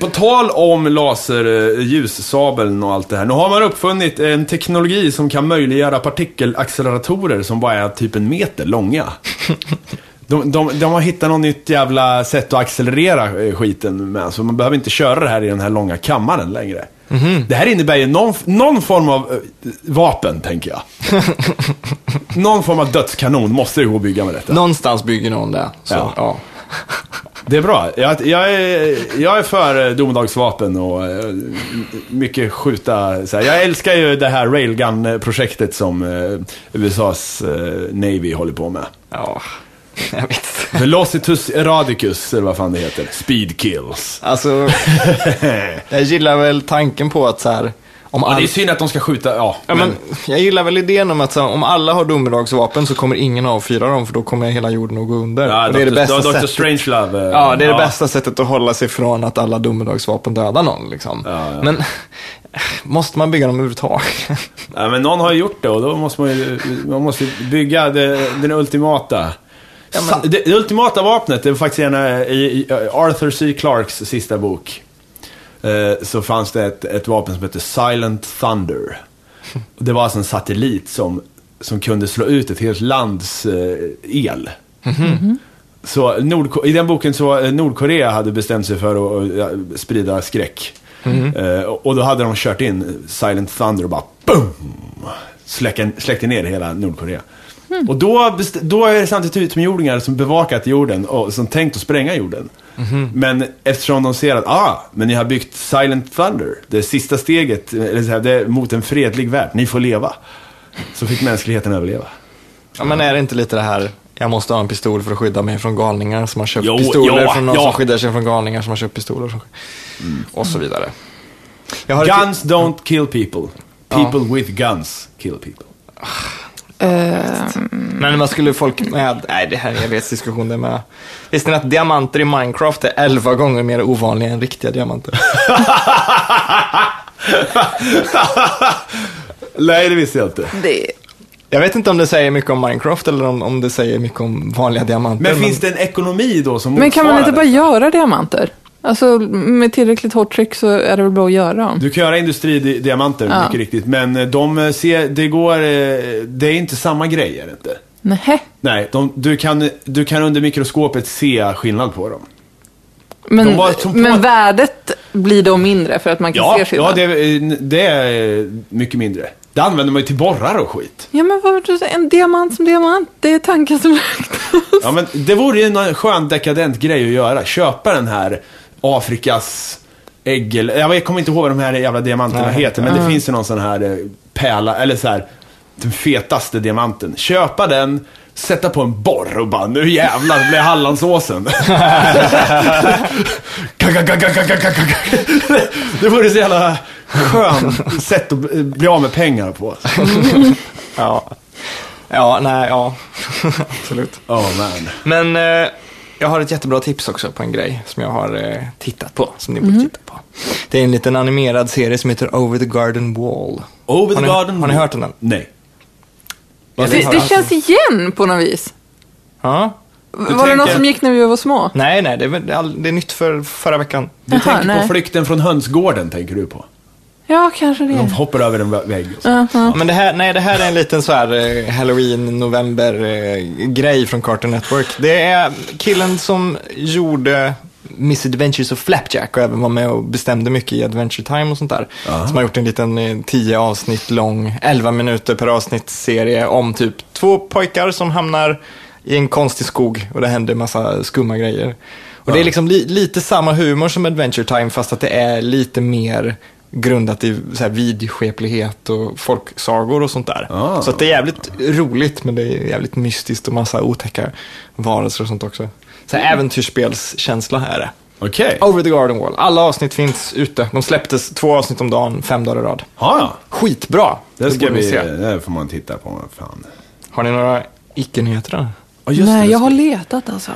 S2: På tal om laser, eh, ljussabeln och allt det här. Nu har man uppfunnit en teknologi som kan möjliggöra partikelacceleratorer som bara är typ en meter långa. De, de, de har hittat något nytt jävla sätt att accelerera eh, skiten med, så man behöver inte köra det här i den här långa kammaren längre. Det här innebär ju någon, någon form av eh, vapen, tänker jag. någon form av dödskanon måste det gå att bygga med detta.
S1: Någonstans bygger någon det. Så, ja.
S2: Ja. Det är bra. Jag, jag, är, jag är för eh, domedagsvapen och eh, m- mycket skjuta. Så här. Jag älskar ju det här Railgun-projektet som eh, USAs eh, Navy håller på med.
S1: ja. [LAUGHS] Jag vet inte.
S2: Velocitus Eradicus, eller vad fan det heter. Speed kills.
S1: Alltså, jag gillar väl tanken på att så här, om
S2: Ja, det är
S1: all...
S2: synd att de ska skjuta, ja.
S1: Ja, men, jag gillar väl idén om att så här, om alla har domedagsvapen så kommer ingen avfyra dem för då kommer hela jorden att gå under.
S2: ja,
S1: Och det är det
S2: Dr.
S1: bästa
S2: Dr.
S1: sättet.
S2: Strangelove. eh,
S1: Ja, det är det bästa sättet att hålla sig från att alla domedagsvapen dödar någon. Liksom. Men [LAUGHS] måste man bygga dem överhuvudtaget? [LAUGHS]
S2: Ja, men någon har ju gjort det och då måste man ju man måste ju bygga det, den ultimata. Sa- det, eh, det ultimata vapnet, det är faktiskt en, eh, i, i Arthur C. Clarks sista bok. eh, så fanns det ett, ett vapen som hette Silent Thunder. Och det var alltså en satellit som, som kunde slå ut ett helt lands eh, el. Så Nordko- i den boken så eh, Nordkorea hade bestämt sig för att, eh, sprida skräck. Eh, och då hade de kört in Silent Thunder och bara BOOM! Släckte, släckte ner hela Nordkorea. Och då, best- då är det samtidigt utomjordingar som bevakat jorden och som tänkt att spränga jorden. Men eftersom de ser att, ah, men ni har byggt Silent Thunder, det sista steget eh, eller så här, det är mot en fredlig värld, ni får leva. Så fick mänskligheten överleva.
S1: Ja, men är det inte lite det här, jag måste ha en pistol för att skydda mig från galningar som har köpt
S2: Jo,
S1: pistoler
S2: ja,
S1: från någon
S2: ja. Mm.
S1: som skyddar sig från galningar som har köpt pistoler. och så- Och så vidare. Jag har ett-
S2: Guns don't kill people. People with guns kill people.
S1: Men man skulle folk med, nej det här är en evighetsdiskussion det med. Visste ni att diamanter i Minecraft är 11 gånger mer ovanliga än riktiga diamanter?
S2: [LAUGHS] Nej, det visste jag inte.
S3: Det,
S1: Jag vet inte om det säger mycket om Minecraft eller om, om det säger mycket om vanliga diamanter.
S2: Men finns det en ekonomi då som
S3: men kan man inte
S2: motsvarar
S3: bara
S2: det?
S3: göra diamanter? Alltså med tillräckligt hårt tryck så är det väl bara att göra dem.
S2: Du kan göra industridiamanter,
S3: Ja.
S2: mycket riktigt. Men eh, de eh, ser, det går, eh, det är inte samma grej, är det inte?
S3: Nej.
S2: Nej, de, du, kan, du kan under mikroskopet se skillnad på dem. De
S3: Men,
S2: var som på-
S3: men värdet blir då mindre för att man kan
S2: Ja,
S3: se skillnad?
S2: ja det, är- det är eh, mycket mindre. Det använder man ju till borrar och skit.
S3: Ja, men vad, en diamant som diamant, det är tanken som räknas.
S2: Ja, men det vore ju en skön dekadent grej att göra. Köpa den här Afrikas ägg eller, Jag kommer inte ihåg vad de här jävla diamanterna
S1: Nej.
S2: heter, men det finns ju någon sån här eh, pärla, eller så här den fetaste diamanten. Köpa den, sätta på en borr och bara nu jävlar blir Hallandsåsen. [LAUGHS] det vore så jävla skönt sätt att bli- bli av med pengar
S1: [LAUGHS]
S2: på.
S1: Ja. Ja, nej, ja. Absolut.
S2: Oh man.
S1: Men eh, jag har ett jättebra tips också på en grej som jag har eh, tittat på, som ni borde
S3: Mhm.
S1: titta på. Det är en liten animerad serie som heter Over the Garden Wall.
S2: Over
S1: har,
S2: the
S1: ni,
S2: garden
S1: har ni
S2: wall.
S1: hört om den?
S2: Nej.
S3: Det, det känns igen på något vis.
S1: Ja.
S3: var det någon
S2: tänker-
S3: som gick när vi var små?
S1: Nej, nej, det är, väl- det är all- det är nytt för förra veckan.
S2: Du
S3: Jaha,
S2: tänker
S3: nej.
S2: på flykten från hönsgården, tänker du på.
S3: Ja, kanske det.
S2: De hoppar över en vä- vägg. Och så.
S1: Ja, Men det här, nej, det här är en liten så här eh, halloween-november-grej från Cartoon Network. Det är killen som gjorde Miss Adventures of Flapjack och även var med och bestämde mycket i Adventure Time och sånt där. Som har gjort en liten eh, 10 avsnitt lång, 11 minuter per avsnitt serie om typ två pojkar som hamnar i en konstig skog och det händer massa skumma grejer. Och det är liksom li- lite samma humor som Adventure Time fast att det är lite mer grundat i så här vidskeplighet och folksagor och sånt där.
S2: Ah.
S1: Så att det är jävligt roligt men det är jävligt mystiskt och massa otäcka varelser och sånt också. Så
S2: Mm.
S1: här äventyrsspelskänsla är det.
S2: Okej.
S1: Over the Garden Wall. Alla avsnitt finns ute. De släpptes två avsnitt om dagen, fem dagar i rad.
S2: Ja, ja.
S1: Skitbra!
S2: Det ska
S1: borde ni
S2: vi...
S1: se.
S2: Det där får man titta på. vad Fan.
S1: Har ni några icke-nyheter? då?
S2: Ja, just det,
S3: Nej,
S2: det
S3: jag har
S2: ska-
S3: letat alltså.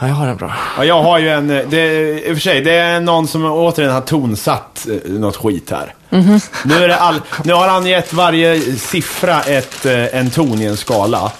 S1: Ja, jag har en bra.
S2: ja, jag har ju en... eh, Det, är- I och för sig, det är någon som återigen har tonsatt eh, något skit här. Nu, är det all, nu har han gett varje siffra ett, eh, en ton i en skala.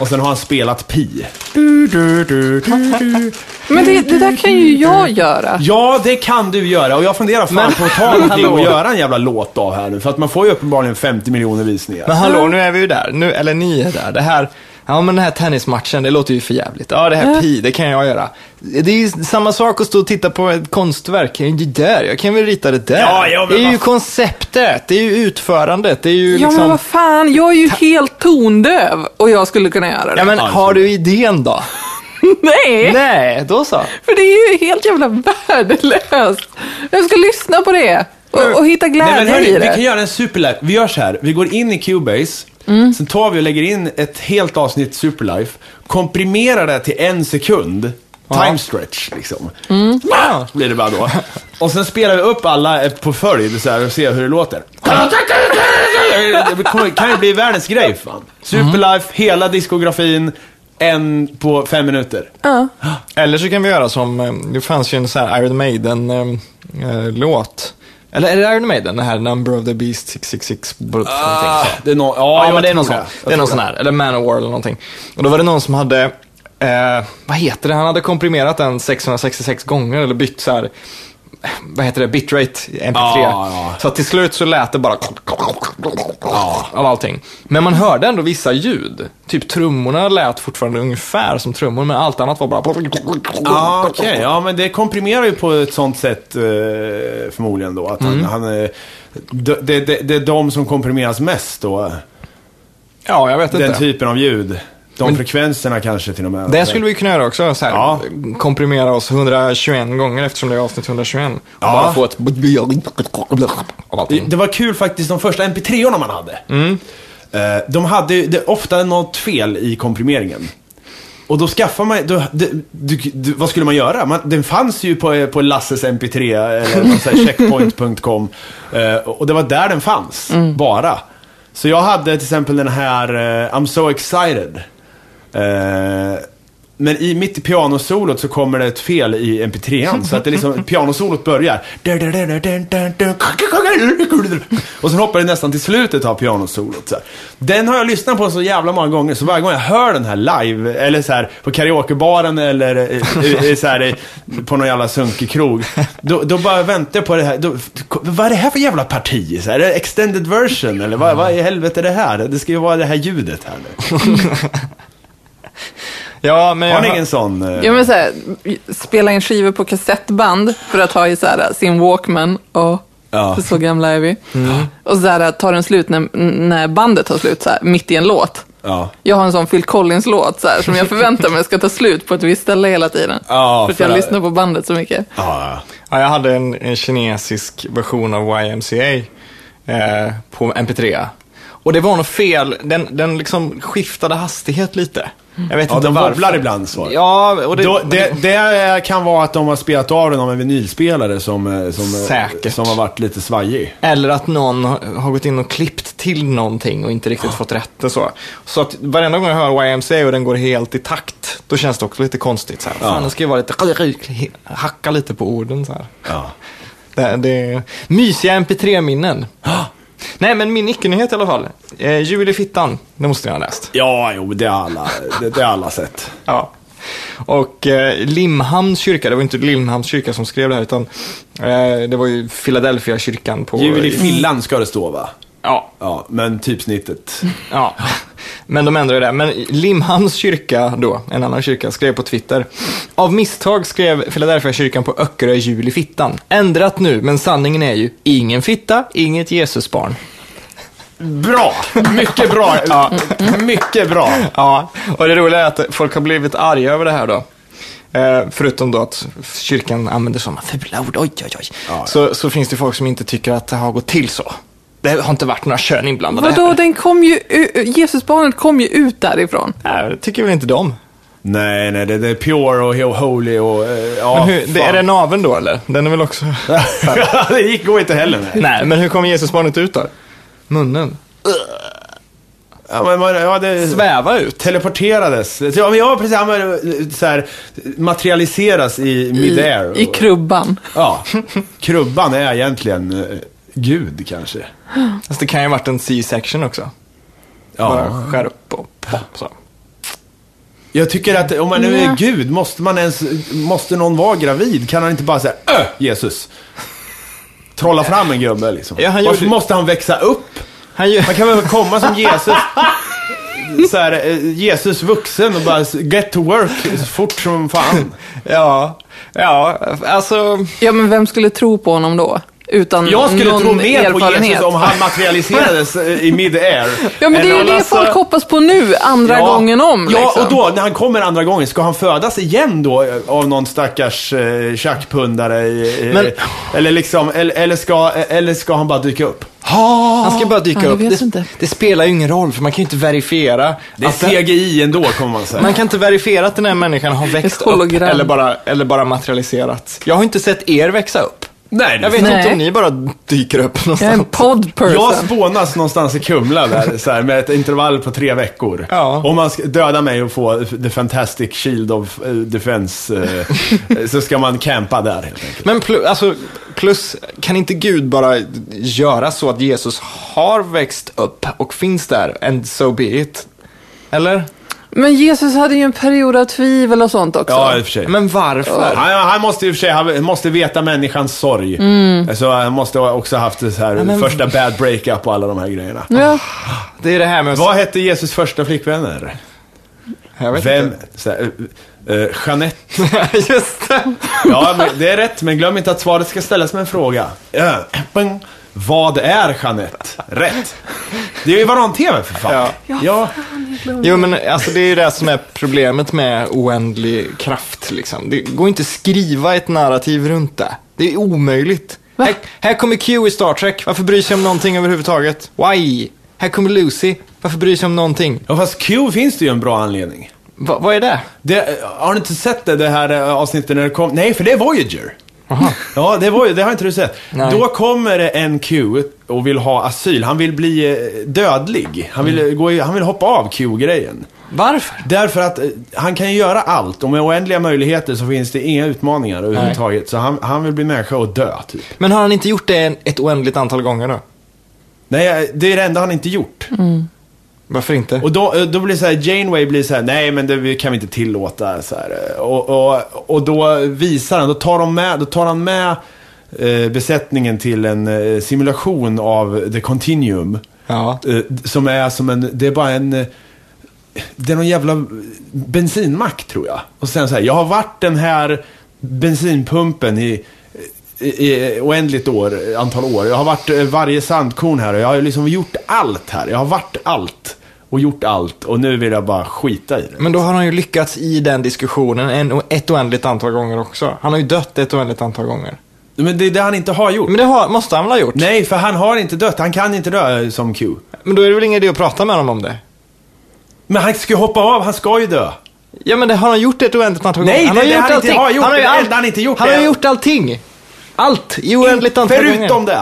S2: Och sen har han spelat pi. Du, du, du, du, du.
S3: Men det, det där kan ju
S2: Mm.
S3: jag göra.
S2: Ja, det kan du göra. Och jag funderar fan på att ta någonting och göra en jävla låt av här nu. För att man får ju uppenbarligen 50 miljoner visningar.
S1: Men hallå, nu är vi ju där. Nu, eller ni är där. Det här, ja men den här tennismatchen, det låter ju för jävligt. Ja, det här pi, det kan jag göra. Det är ju samma sak att stå och titta på ett konstverk. Det är ju där, jag kan väl rita det där.
S2: Ja, ja, men
S1: det är
S2: vad fan.
S1: ju konceptet, det är ju utförandet, det är ju
S3: Ja, men
S1: liksom...
S3: vad fan, jag är ju helt tondöv och jag skulle kunna göra det.
S1: Ja, men
S2: Ja,
S1: har du idén då?
S3: [LAUGHS] Nej,
S1: Nej, då så.
S3: för det är ju helt jävla värdelöst. Jag ska lyssna på det och, och hitta glädje
S2: Nej, men hörni,
S3: i
S2: vi kan
S3: det.
S2: göra en superlife. Vi gör så här, vi går in i Cubase,
S3: Mm.
S2: sen tar vi och lägger in ett helt avsnitt superlife, komprimerar det till en sekund, time stretch liksom.
S3: Mm.
S1: Ja.
S2: Blir det bara då. Och sen spelar vi upp alla eh, på följd så här och ser hur det låter. Det kommer- kan ju bli världens grej fan. Superlife, hela diskografin, en på fem minuter.
S1: Eller så kan vi göra som, eh, det fanns ju en sån här Iron Maiden-låt. Eller är det Iron Maiden, den här Number of the Beast 666? Ah,
S2: Det är nå-
S1: Ja,
S2: jag
S1: men det är
S2: tror
S1: någon sån.
S2: Jag
S1: Det är någon
S2: tror
S1: sån här. Eller Manowar eller någonting. Och då var det någon som hade, eh, vad heter det, han hade komprimerat den 666 gånger eller bytt så här vad heter det, bitrate i MP3.
S2: Ja, ja.
S1: Så att till slut så lät det bara av allting. Men man hörde ändå vissa ljud. Typ trummorna lät fortfarande ungefär som trummor, men allt annat var bara...
S2: Ja, Ah, okej. Ja, men det komprimerar ju på ett sånt sätt eh, förmodligen då. Att han,
S1: Mm.
S2: han, eh, d- det, det, det är de som komprimeras mest då.
S1: Ja, jag vet
S2: Den
S1: inte.
S2: typen av ljud. De frekvenserna kanske till och med.
S1: Det skulle vi kunna göra också, så här,
S2: Ja.
S1: komprimera oss 121 gånger eftersom det är avsnitt 121. Och
S2: Ja.
S1: bara få ett... av
S2: Det-
S1: allting.
S2: Det var kul faktiskt, de första mp 3 orna man hade. Eh, De hade ju det, ofta något fel i komprimeringen. Och då skaffar man då, det, du, du, Vad skulle man göra? Man, den fanns ju på, eh, på Lasses MP3 eh, eller någon sån här checkpoint.com. Eh, och det var där den fanns, bara. Så jag hade till exempel den här eh, I'm so excited. Eh, men i, mitt i pianosolot så kommer det ett fel i mp3an. Så att det
S3: [LAUGHS]
S2: liksom, pianosolot börjar. Och sen hoppar det nästan till slutet av pianosolot. Så här. Den har jag lyssnat på så jävla många gånger, så varje gång jag hör den här live, eller så här på karaokebaren eller eh, eh, så här, eh, på någon jävla sunkig krog. Då, då bara väntar jag på det här. Då, vad är det här för jävla parti? Så här, är det extended version? Eller vad, vad i helvete är det här? Det ska ju vara det här ljudet här nu.
S1: Ja, men
S2: Har ni
S1: jag-
S2: ingen sån? eh,
S3: Ja, men så här, spela in skivor på kassettband för att ha i så här, sin Walkman. Och,
S2: Ja. Mm.
S3: för Så gamla är vi. Och så här, tar den slut när, när bandet tar slut, så här, mitt i en låt.
S2: Ja.
S3: Jag har en sån Phil Collins-låt så här, som jag förväntar mig ska ta slut på ett visst ställe hela tiden.
S2: Ja,
S3: för att
S2: för
S3: jag
S2: att-
S3: lyssnar på bandet så mycket.
S2: Ja,
S1: Ja, jag hade en, en kinesisk version av YMCA eh, på MP3. Och det var något fel, den, den liksom skiftade hastighet lite. Jag
S2: Mm.
S1: vet
S2: ja
S1: inte
S2: de
S1: varför.
S2: wobblar ibland så.
S1: Ja, och det,
S2: Då, det, det kan vara att de har spelat av den av en vinylspelare som, eh, som, eh,
S1: Säkert.
S2: som har varit lite svajig.
S1: Eller att någon har gått in och klippt till någonting och inte riktigt fått rätt och så. Så att varenda gång jag hör YMCA och den går helt i takt, då känns det också lite konstigt. Så här. Fan, det ska ju vara lite... Hacka lite på orden så här.
S2: Ja.
S1: Det, det, mysiga MP3-minnen. Nej, men min icke-nyhet i alla fall. Eh, Jul i fittan, det måste ni ha läst.
S2: Ja, jo, det har alla, det, det har alla sett.
S1: Ja. Och eh, Limhamns kyrka, det var inte Limhamns kyrka som skrev det här, utan eh, det var ju Philadelphia kyrkan på...
S2: Jul i Finland ska det stå va?
S1: Ja,
S2: Ja, men typsnittet.
S1: Ja, men de ändrade det. Men Limhamns kyrka då, en annan kyrka, skrev på Twitter. Av misstag skrev Philadelphia kyrkan på Öckerö jul i fittan. Ändrat nu, men sanningen är ju ingen fitta, inget Jesusbarn.
S2: Bra! Mycket
S1: [LAUGHS]
S2: bra! Ja, mycket bra!
S1: Ja, och det roliga är att folk har blivit arga över det här då. Eh, förutom då att kyrkan använder sådana fula ord, oj, oj, oj.
S2: ja.
S1: Så, så finns det folk som inte tycker att det har gått till så. Det har inte varit några kön inblandade.
S3: Vadå,
S1: här.
S3: den kom ju, u- u- Jesusbarnet kom ju ut därifrån.
S1: Nej, det Äh, tycker väl inte de.
S2: Nej, nej, det, det är pure och he- holy och... eh, Ja,
S1: Men hur, det, är det
S2: fan.
S1: naveln då eller? Den är väl också...
S2: [LAUGHS] det gick går inte heller. Nej.
S1: [LAUGHS] Nej, men hur kom Jesusbarnet ut då? Munnen.
S2: Ja, men, man- ja, det...
S1: Sväva ut.
S2: Teleporterades. Ja, men jag var precis ja, men, eh, så här, materialiseras i midair.
S3: I krubban.
S2: Ja, krubban är egentligen eh, Gud kanske.
S1: Fast det kan ju ha varit en C-section också.
S2: Ja.
S1: Bara skär upp och pop, så.
S2: Jag tycker att om man nu
S3: Ja.
S2: är Gud, måste man ens, måste någon vara gravid? Kan han inte bara säga öh, Jesus? Trolla fram en gubbe liksom.
S1: Ja, han
S2: Varför
S1: gjorde-
S2: måste han växa upp?
S1: Han ju...
S2: Man kan väl komma som Jesus, så här, eh, Jesus vuxen och bara get to work så fort som fan.
S1: Ja, ja, alltså...
S3: Ja, men vem skulle tro på honom då? Utan
S2: Jag skulle
S3: någon
S2: tro mer på
S3: erfarenhet.
S2: Jesus om han materialiserades eh, i mid-air.
S3: Ja, men det
S2: än
S3: är ju
S2: om-
S3: det
S2: Alltså-
S3: folk hoppas på nu, andra gången om.
S2: Ja,
S3: liksom.
S2: och då när han kommer andra gången, ska han födas igen då eh, av någon stackars eh, tjackpundare? Eh,
S1: Men-
S2: eh, Eller liksom, eller, eller, ska, eller ska han bara dyka upp?
S1: Han ska bara dyka
S3: Ja, det
S1: upp.
S3: vet jag inte.
S1: det spelar ju ingen roll, för man kan ju inte verifiera.
S2: Det är
S1: att den-
S2: CGI ändå, kommer man säga.
S1: man kan inte verifiera att den här människan har växt
S3: Ett
S1: upp
S3: hologram.
S1: eller bara, eller bara materialiserats. Jag har inte sett er växa upp.
S2: Nej,
S1: Jag vet
S3: Nej.
S1: inte om ni bara dyker upp
S3: Jag är en
S1: någonstans.
S3: pod
S2: Jag
S3: person.
S2: spånas någonstans i Kumla där, så här, med ett intervall på tre veckor.
S1: Ja.
S2: Om man ska döda mig och få the fantastic shield of eh, defense, eh, [LAUGHS] så ska man campa där helt enkelt.
S1: Men plus, alltså, plus, kan inte Gud bara göra så att Jesus har växt upp och finns där, and so be it? Eller?
S3: Men Jesus hade ju en period av tvivel och sånt också.
S2: Ja, i och för sig.
S1: Men varför?
S2: Han, han måste i och för sig han måste veta människans sorg. Så han måste också haft det så här
S1: men-
S2: första bad breakup och alla de här grejerna.
S3: Ja.
S1: Det är det här med...
S2: Vad hette Jesus första flickvänner?
S1: Jag vet
S2: Vem?
S1: inte. [LAUGHS]
S2: Så här, eh, eh, Jeanette.
S1: Just det.
S2: Ja, men det är rätt, men glöm inte att svaret ska ställas med en fråga. Ja. Bang. Vad är Jeanette? Rätt. Det är ju varann-tv för fan.
S1: Ja.
S2: ja.
S1: Jo, men alltså det är ju det som är problemet med oändlig kraft. Liksom. Det går inte att skriva ett narrativ runt det. Det är omöjligt.
S3: Va?
S1: Här, här kommer Q i Star Trek. Varför bryr sig om någonting överhuvudtaget? Why? Här kommer Lucy. Varför bryr sig om någonting?
S2: ja, fast Q finns det ju en bra anledning.
S1: Va, vad är det?
S2: Det, har du inte sett det, det här eh, avsnittet när det kom? Nej, för det är Voyager. Ja, det, var, ju- det har inte du sett.
S1: Nej.
S2: Då kommer det en Q och vill ha asyl. Han vill bli eh, dödlig. Han vill, eh, gå i, han vill hoppa av Q-grejen.
S1: Varför?
S2: Därför att eh, han kan ju göra allt och med oändliga möjligheter så finns det inga utmaningar överhuvudtaget. Så han, han vill bli människa och dö, typ.
S1: Men har han inte gjort det en- ett oändligt antal gånger då?
S2: Nej, eh, det är det enda han inte gjort.
S1: Varför inte?
S2: Och då, eh, då blir det så här, Janeway blir så här, nej men det kan vi inte tillåta. Så här. eh, Och, och, och då visar han, då tar, de med, då tar han med eh, besättningen till en eh, simulation av The Continuum.
S1: Ja.
S2: Eh, som är som en, det är bara en, eh, det är någon jävla bensinmack tror jag. Och sen så här, jag har varit den här bensinpumpen i, i, i oändligt år, antal år. Jag har varit eh, varje sandkorn här och jag har liksom gjort allt här. Jag har varit allt och gjort allt och nu vill jag bara skita i det.
S1: Men då har han ju lyckats i den diskussionen en, ett oändligt antal gånger också. Han har ju dött ett oändligt antal gånger.
S2: Men det är det han inte har gjort.
S1: Men det har, måste han väl ha gjort?
S2: Nej, för han har inte dött. Han kan inte dö eh, som Q.
S1: Men då är det väl ingen idé att prata med honom om det?
S2: Men han ska ju hoppa av, han ska ju dö.
S1: Ja men det har han gjort ett oändligt antal
S2: Nej,
S1: gånger.
S2: det
S1: har
S2: är det han inte
S1: allting.
S2: har gjort.
S1: ju
S2: Det är det
S1: allt-
S2: enda han inte gjort
S1: Han har
S2: är-
S1: ju gjort allting. Allt i oändligt antal gånger.
S2: Förutom det.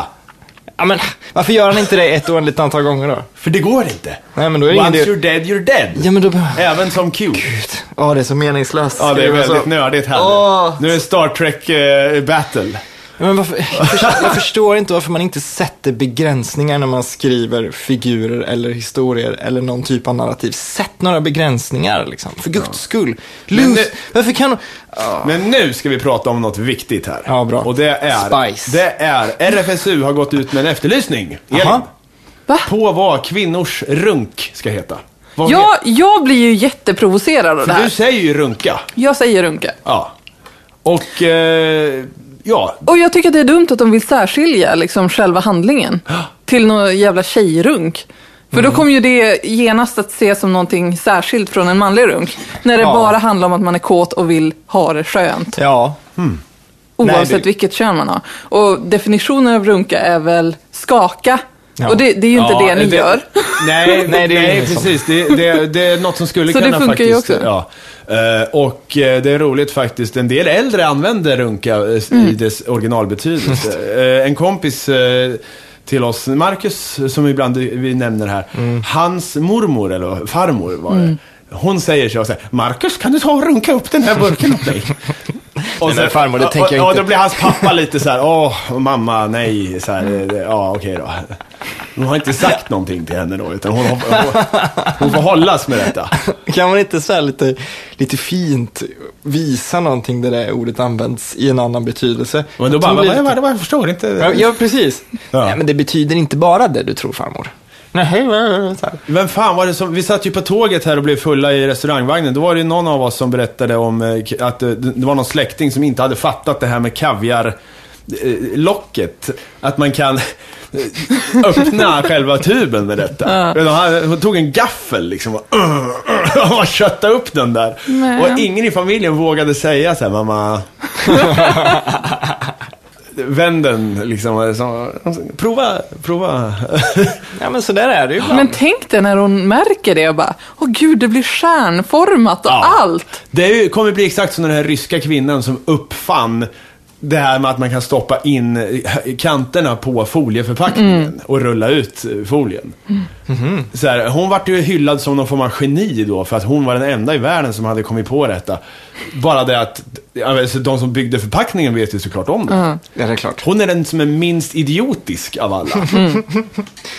S1: Ja, men, varför gör han inte det ett oändligt antal gånger då?
S2: För det går inte.
S1: Nej men då är det ingen
S2: Once
S1: idé.
S2: you're dead, you're dead.
S1: Ja men då...
S2: Även som Q.
S1: Ja det är så meningslöst. Alltså-
S2: Ja, det är
S1: skriva så.
S2: väldigt nördigt här
S1: Åh.
S2: nu. Nu är det Star Trek eh, Battle.
S1: Ja, Men varför, jag, förstår, jag förstår inte varför man inte sätter begränsningar när man skriver figurer eller historier eller någon typ av narrativ. Sätt några begränsningar liksom, för guds skull. Lose,
S2: Men det-
S1: varför kan
S2: Men nu ska vi prata om något viktigt här.
S1: Ja, bra.
S2: Och det är...
S1: Spice.
S2: Det är... RFSU har gått ut med en efterlysning. Elin,
S1: Aha.
S3: Va?
S2: På vad kvinnors runk ska heta. Vad
S3: Jag, jag blir ju jätteprovocerad av det
S2: vet- Du
S3: här.
S2: säger ju runka.
S3: Jag säger runka.
S2: Ja. Och... Eh, ja.
S3: Och jag tycker att det är dumt att de vill särskilja liksom, själva handlingen till någon jävla tjejrunk. För
S1: Mm.
S3: då kommer ju det genast att ses som någonting särskilt från en manlig runk. När det
S1: Ja.
S3: bara handlar om att man är kåt och vill ha det skönt.
S1: Ja, [LAUGHS]
S3: Oavsett
S1: Nej, det-
S3: vilket kön man har. Och definitionen av runka är väl skaka.
S1: Ja.
S3: Och det, det är ju inte
S2: ja,
S3: det
S1: [LAUGHS]
S3: ni gör. [LAUGHS]
S2: Nej,
S1: Nej,
S2: nej,
S1: det är ingen sån.
S2: precis. Det, det, det är något som skulle
S3: Så det
S2: kunna
S3: funkar ju
S2: faktiskt...
S3: också.
S2: Ja. Eh, och eh, det är roligt faktiskt, en del äldre använder runka eh, s-
S3: Mm.
S2: i dess originalbetydelse. Eh, en kompis eh, till oss, Marcus, som ibland vi nämner här,
S1: Mm.
S2: hans mormor, eller farmor var det,
S3: Mm.
S2: hon säger så här, Marcus kan du ta och runka upp den här burken åt
S1: [LAUGHS]
S2: mig? Och
S1: men farmor, det
S2: och-
S1: tänker jag
S2: och,
S1: inte.
S2: Och då blir hans pappa lite
S1: [LAUGHS]
S2: så här, åh, mamma, nej, så här, eh, det- ja, okej då. Hon har inte sagt någonting till henne då, utan hon, hon, hon, hon får hållas med detta.
S1: kan man inte så här lite, lite fint visa någonting där det ordet används i en annan betydelse?
S2: Men då
S1: Jag
S2: bara,
S1: tror
S2: vad,
S1: det är
S2: vad,
S1: lite-
S2: vad, jag förstår inte.
S1: Ja, ja, precis.
S2: Ja.
S1: Nej, men det betyder inte bara det du tror farmor. Nej, så här.
S2: Men fan var det som, vi satt ju på tåget här och blev fulla i restaurangvagnen. Då var det ju någon av oss som berättade om eh, k- att eh, det det var någon släkting som inte hade fattat det här med kaviar eh, locket. Att man kan eh, öppna själva tuben med detta. Men Han hon tog en gaffel liksom och, [CLEARS THROAT] och köttade upp den där.
S3: Nej.
S2: Och ingen i familjen vågade säga så här, mamma. Vänd den liksom. Så, prova, prova.
S1: Ja, men så där är det
S2: [LAUGHS]
S1: ju ibland.
S3: Men tänk dig när hon märker det och bara, åh gud, det blir stjärnformat och
S2: Ja.
S3: allt.
S2: Det är ju- kommer bli exakt som den här ryska kvinnan som uppfann det här med att man kan stoppa in eh, kanterna på folieförpackningen och rulla ut eh, folien. Så här, hon vart ju hyllad som någon form av geni då, för att hon var den enda i världen som hade kommit på detta. Bara det att, alltså, de som byggde förpackningen vet ju såklart om det.
S1: Ja, det är klart.
S2: Hon är den som är minst idiotisk av alla.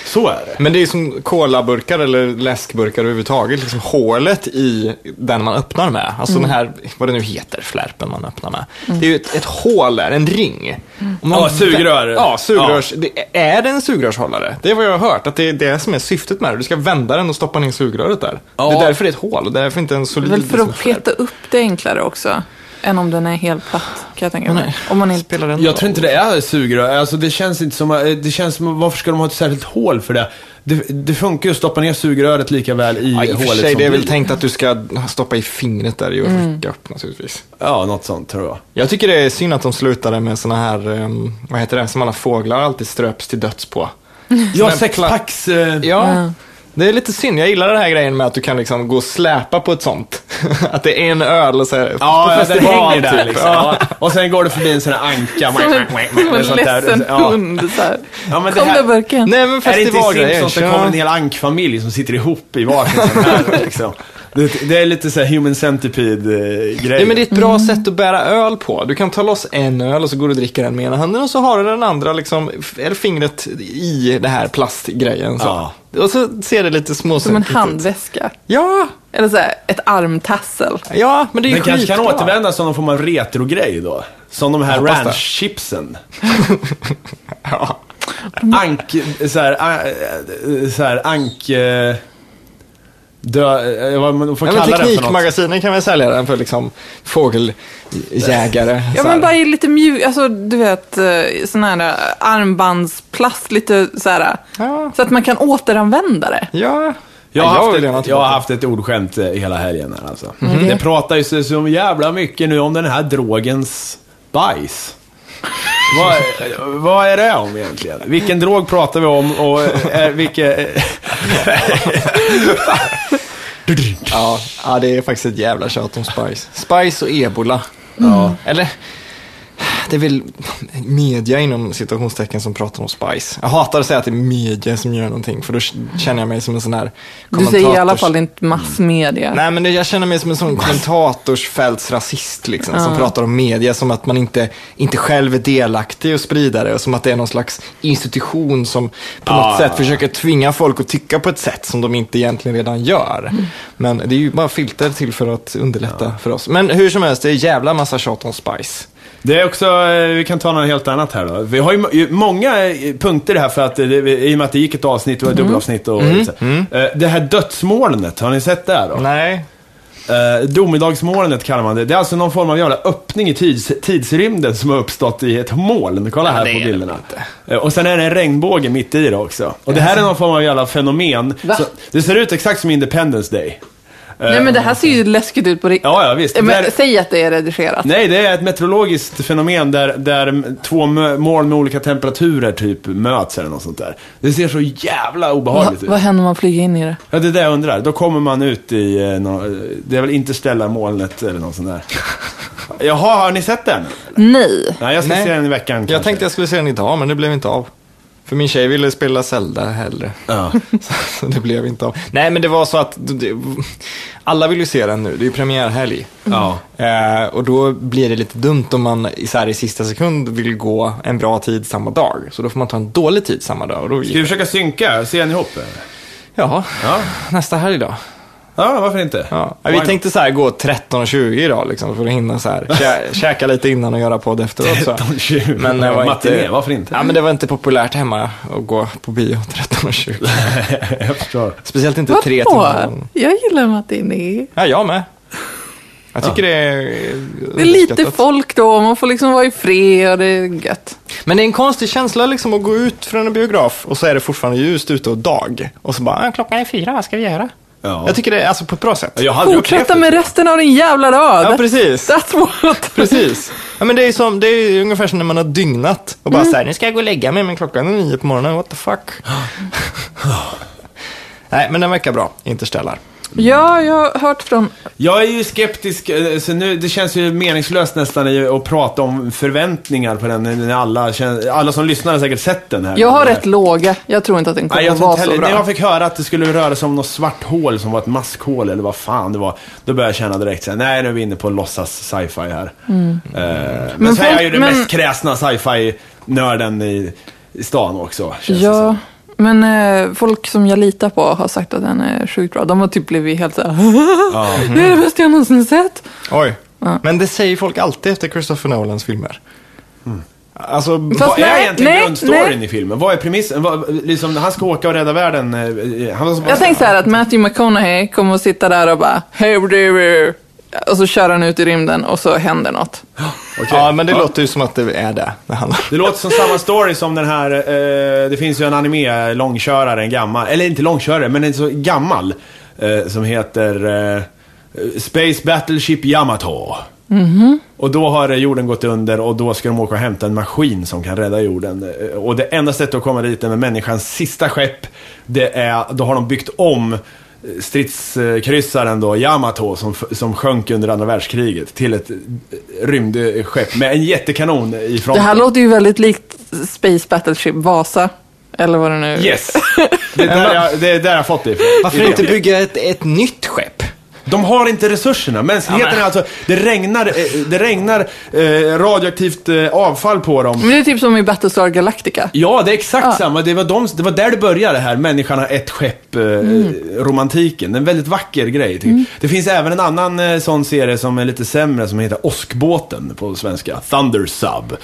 S2: Så är det.
S1: Men det är som kolaburkar eller läskburkar överhuvudtaget. Liksom hålet i den man öppnar med. Alltså den här, vad det nu heter, flärpen man öppnar med. Det är ju ett, ett hål där, en ring. Om man
S2: Ja, sugrör.
S1: vä- Ja, sugrörs. Det, är det en sugrörshållare? Det är vad jag har hört, att det är det som är syftet med det. Du ska vända den och stoppa ner sugröret där.
S2: Ja.
S1: Det är därför det är ett hål, och därför inte en solid...
S3: Väl för
S1: liksom,
S3: att peta upp det enklare också. Än om den är helt platt, kan jag tänka mig.
S1: Nej.
S3: Om man inte...
S1: Spelar den
S2: Jag tror inte det är sugrör. Alltså det känns inte som, eh, det känns som, varför ska de ha ett särskilt hål för det? Det, det funkar ju att stoppa ner sugröret lika väl i
S1: Ja, I och
S2: hålet
S1: för sig,
S2: som
S1: det är väl
S2: blir.
S1: tänkt att du ska stoppa i fingret där i och rycka upp naturligtvis.
S2: Ja, något sånt tror jag.
S1: Jag tycker det är synd att de slutade med såna här, ehm, vad heter det, som alla fåglar alltid ströps till döds på.
S2: Ja,
S1: Men pla-
S2: sexpacks... Eh,
S1: Ja, det är lite synd. Jag gillar den här grejen med att du kan liksom gå och släpa på ett sånt. [LAUGHS] att det är en öl och så här,
S2: Ja,
S1: på
S2: ja, den
S1: festival
S2: hänger där
S1: typ.
S2: liksom.
S1: Ja.
S2: Ja. Och sen går det förbi en sån här anka. [LAUGHS]
S3: Som en, som en
S2: sånt där.
S3: ledsen
S2: Ja.
S3: hund. Så här.
S2: Ja, men det
S3: Kom
S2: här-
S3: där burken.
S1: Nej men
S2: Är det inte i
S1: festivalgrejer.
S2: Simpsons det kommer en hel ankfamilj som sitter ihop i varsin sån här liksom? Det, det är lite så här human eh, centipede-grej.
S1: Ja, men det är ett bra sätt att bära öl på. Du kan ta loss en öl och så går du och dricker den med ena handen och så har du den andra liksom, f- eller fingret i det här plastgrejen. Så.
S2: Ja.
S1: Och så ser det lite småsökigt
S3: Som en
S1: ut.
S3: handväska.
S1: Ja,
S3: Eller så här, ett armtassel.
S1: ja, men det är ju
S2: Den kanske kan
S1: skitbra.
S2: återvändas som någon form av retrogrej då. Som de här
S1: Jag hoppas det.
S2: ranchchipsen.
S1: Ja.
S2: Ank... Så här, a- eh, så här ank... eh, Dö, eh, vad man får
S1: Ja, men
S2: kalla det för något.
S1: teknikmagasinen kan väl sälja den för liksom fågeljägare.
S3: Ja
S1: så
S3: men
S1: här.
S3: bara i lite mjuk, alltså du vet eh, sån här eh, armbandsplast, lite så här. eh,
S1: Ja.
S3: Så att man kan återanvända det.
S1: Ja.
S2: Jag har,
S1: Ja,
S2: haft
S1: vill
S2: ett,
S1: gärna
S2: jag
S1: tillbaka. Mhm.
S2: har haft ett ordskämt eh, hela helgen här alltså. Det pratar ju så, så jävla mycket nu om den här drogens bajs. vad, vad är det om egentligen? Vilken drog pratar vi om och eh, vilke...
S1: Ja, ja, det är faktiskt ett jävla tjat om Spice. Spice och ebola. Eller, det är väl media inom citationstecken som pratar om Spice. Jag hatar att säga att det är media som gör någonting, för då känner jag mig som en sån här
S3: Du säger i alla
S1: kommentators-
S3: fall inte massmedia.
S1: Nej, men det, jag känner mig som en sån kommentatorsfältsrasist liksom, som pratar om media som att man inte, inte själv är delaktig och sprida det och som att det är någon slags institution som på något sätt försöker tvinga folk att tycka på ett sätt som de inte egentligen redan gör. Men det är ju bara filter till för att underlätta för oss. Men hur som helst, det är jävla massa tjat om Spice.
S2: Det är också, eh, vi kan ta något helt annat här då. Vi har ju mo- många eh, punkter här för att, eh, det- i och med att det gick ett avsnitt, det
S1: Mm.
S2: var ett dubbelavsnitt och så. Eh, Det här dödsmolnet, har ni sett det här då?
S1: Nej.
S2: Eh, domedagsmolnet kallar man det. Det är alltså någon form av jävla öppning i tids, tidsrymden som har uppstått i ett moln. Kolla här
S1: det
S2: på
S1: är det
S2: bilderna. Eh, och sen är det en regnbåge mitt i det också. Och det här är någon form av jävla fenomen.
S3: Va?
S2: Så, det ser ut exakt som Independence Day.
S3: Nej men det här ser ju läskigt ut på riktigt.
S2: Ja, ja, visst.
S3: Men,
S2: Det här-
S3: Säg att det är redigerat.
S2: Nej, det är ett meteorologiskt fenomen där, där två mö- moln med olika temperaturer typ möts eller något sånt där. Det ser så jävla
S3: Va,
S2: obehagligt ut.
S3: vad händer om man flyger in i det?
S2: Ja, det är det jag undrar. Då kommer man ut i, eh, nå- eh, det är väl Interstellar-molnet eller något
S1: [LAUGHS]
S2: sånt där. Jaha, har ni sett den?
S3: Nej.
S2: Nej, jag ska
S1: Nej.
S2: se den i veckan kanske.
S1: Jag tänkte jag skulle se den idag, men det blev inte av. För min tjej ville spela Zelda hellre.
S2: Ja.
S1: [LAUGHS] Så det blev inte av. Nej, men det var så att det, alla vill ju se den nu. Det är ju premiärhelg.
S2: Ja.
S1: Eh, och då blir det lite dumt om man i, så här, i sista sekund vill gå en bra tid samma dag. Så då får man ta en dålig tid samma dag. Och då
S2: Ska vi försöka synka? Se den ihop? eller?
S1: Ja,
S2: Ja.
S1: nästa helg då.
S2: Ja, varför inte?
S1: Ja. Vi
S2: Why-
S1: tänkte så här gå 13.20 idag liksom, för att hinna så här,
S2: [LAUGHS]
S1: kä- käka lite innan och göra podd efteråt. Så.
S2: 13.20.
S1: Men det var
S2: Matiné,
S1: inte,
S2: varför inte? [LAUGHS]
S1: Ja, men det var inte populärt hemma att gå på bio 13.20.
S2: jag förstår.
S1: Speciellt inte tre
S3: Vadå?
S1: timmar.
S3: Jag gillar matiné.
S1: Ja, jag med. Jag tycker det är...
S3: Det är lite
S1: underskattat.
S3: folk då, man får liksom vara i fred och det är gött.
S1: Men det är en konstig känsla liksom att gå ut från en biograf och så är det fortfarande ljust ute och dag. Och så bara, "Ah, klockan är fyra, vad ska vi göra?
S2: Ja.
S1: Jag tycker det är alltså på ett bra sätt.
S2: Jag har aldrig upplevt
S3: Fortsätta
S2: det.
S3: med resten av din jävla rad.
S1: Ja, precis.
S3: That's what.
S1: Precis. Ja, men det är ju som, det är ju ungefär som när man har dygnat och bara
S3: Mm.
S1: så här, nu ska jag gå och lägga mig, men klockan är nio på morgonen, what the fuck. Nej, men den verkar bra, Interstellar.
S3: Ja, jag har hört från...
S2: Jag är ju skeptisk, eh, så nu, det känns ju meningslöst nästan i- att prata om förväntningar på den, när alla, kän- alla som lyssnar har säkert sett den här.
S3: Jag har rätt låga. Jag tror inte att den kommer
S2: Nej, jag
S3: att
S2: tror
S3: vara
S2: inte
S3: så
S2: heller.
S3: bra.
S2: När jag fick höra att det skulle röra sig om något svart hål som var ett maskhål eller vad fan det var. Då började jag känna direkt såhär, nej nu är vi inne på låtsas sci-fi här. Eh, men,
S3: Mm. Men
S2: så är jag
S3: folk-
S2: ju den
S3: men-
S2: mest kräsna sci-fi-nörden i, i stan också. Känns det
S3: Ja,
S2: som.
S3: men eh, folk som jag litar på har sagt att den är sjukt bra. De har typ blivit helt såhär, [LAUGHS]
S2: mhm.
S3: det är det bästa jag någonsin sett.
S1: Oj. Men det säger folk alltid efter Christopher Nolans filmer. Alltså,
S3: Fast
S2: Vad är
S3: nej,
S2: egentligen
S3: nej,
S2: grundstoryn
S3: nej.
S2: i filmen? Vad är premissen? Vad, liksom, han ska åka och rädda världen. eh, Han var
S3: Jag tänkte så här att Matthew McConaughey kommer att sitta där och bara, hey baby. Och så kör han ut i rymden och så händer något.
S2: Okej.
S1: Ja, men det låter ju som att det är det.
S2: [LAUGHS]
S1: det handlar om.
S2: Det låter som samma story som den här, eh, det finns ju en anime, långkörare, en gammal, eller inte långkörare, men en så gammal, eh, som heter eh, Space Battleship Yamato.
S3: Mm-hmm.
S2: Och då har eh, jorden gått under och då ska de åka och hämta en maskin som kan rädda jorden. Eh, Och det enda sättet att komma dit är med människans sista skepp, det är, då har de byggt om eh, stridskryssaren då, Yamato, som, f- som sjönk under andra världskriget till ett eh, rymdskepp med en jättekanon i
S3: Det
S2: fronten.
S3: här låter ju väldigt likt Space Battleship Vasa. Eller vad det nu
S2: Yes! Det är där jag, det är där jag fått det ifrån.
S1: Varför inte bygga ett, ett nytt skepp?
S2: De har inte resurserna. Mänskligheten är alltså... Det regnar, eh, det regnar eh, radioaktivt eh, avfall på dem.
S3: Men det är typ som i Battlestar Galactica.
S2: Ja, det är exakt samma. Det var, de, det var där det började här, människan har ett skepp, eh, romantiken. En väldigt vacker grej. tycker jag. Det finns även en annan eh, sån serie som är lite sämre, som heter Åskbåten på svenska. Thunder Sub.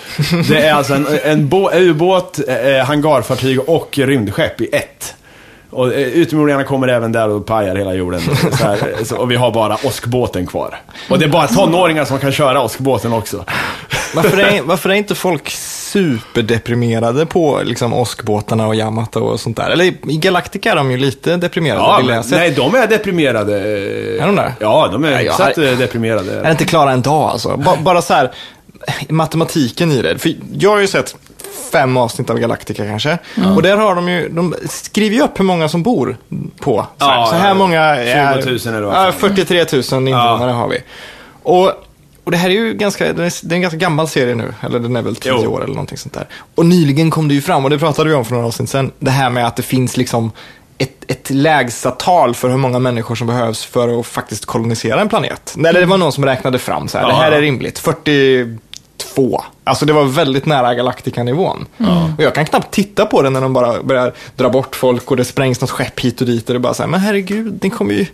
S2: Det är alltså en, en bå- ubåt, eh, hangarfartyg och rymdskepp i ett. Och eh, utomjordingarna kommer även där och pajar hela jorden. Så här, så, och vi har bara åskbåten kvar. Och det är bara tonåringar som kan köra åskbåten också. [LAUGHS]
S1: Varför är, varför är inte folk superdeprimerade på liksom, åskbåtarna och Yamato och sånt där? Eller i Galactica är de ju lite deprimerade,
S2: Ja,
S1: vill jag
S2: men,
S1: säga.
S2: nej, de är deprimerade.
S1: Är de det?
S2: Ja, de är
S1: Nej, jag
S2: hyfsat
S1: har-
S2: eh, deprimerade.
S1: Är det inte klara en dag alltså? Ba- bara så här, matematiken i det. För jag har ju sett fem avsnitt av Galactica kanske.
S2: Mm.
S1: Och där har de ju, de skriver ju upp hur många som bor på. Så här,
S2: Ja,
S1: så här
S2: ja.
S1: många är...
S2: 20 000 eller vad
S1: Ja,
S2: fan.
S1: 43 000 invånare har vi. Och, och det här är ju ganska, det är det är en ganska gammal serie nu, eller den är väl 10
S2: Jo.
S1: år eller någonting sånt där. Och nyligen kom det ju fram, och det pratade vi om för några avsnitt sedan, det här med att det finns liksom ett, ett lägsta tal för hur många människor som behövs för att faktiskt kolonisera en planet. Nej, det var någon som räknade fram så här, det här
S2: Ja.
S1: är rimligt, 42. Alltså det var väldigt nära Galactica-nivån. Och jag kan knappt titta på det när de bara börjar dra bort folk och det sprängs något skepp hit och dit och det är bara så här, men herregud, det kommer ju,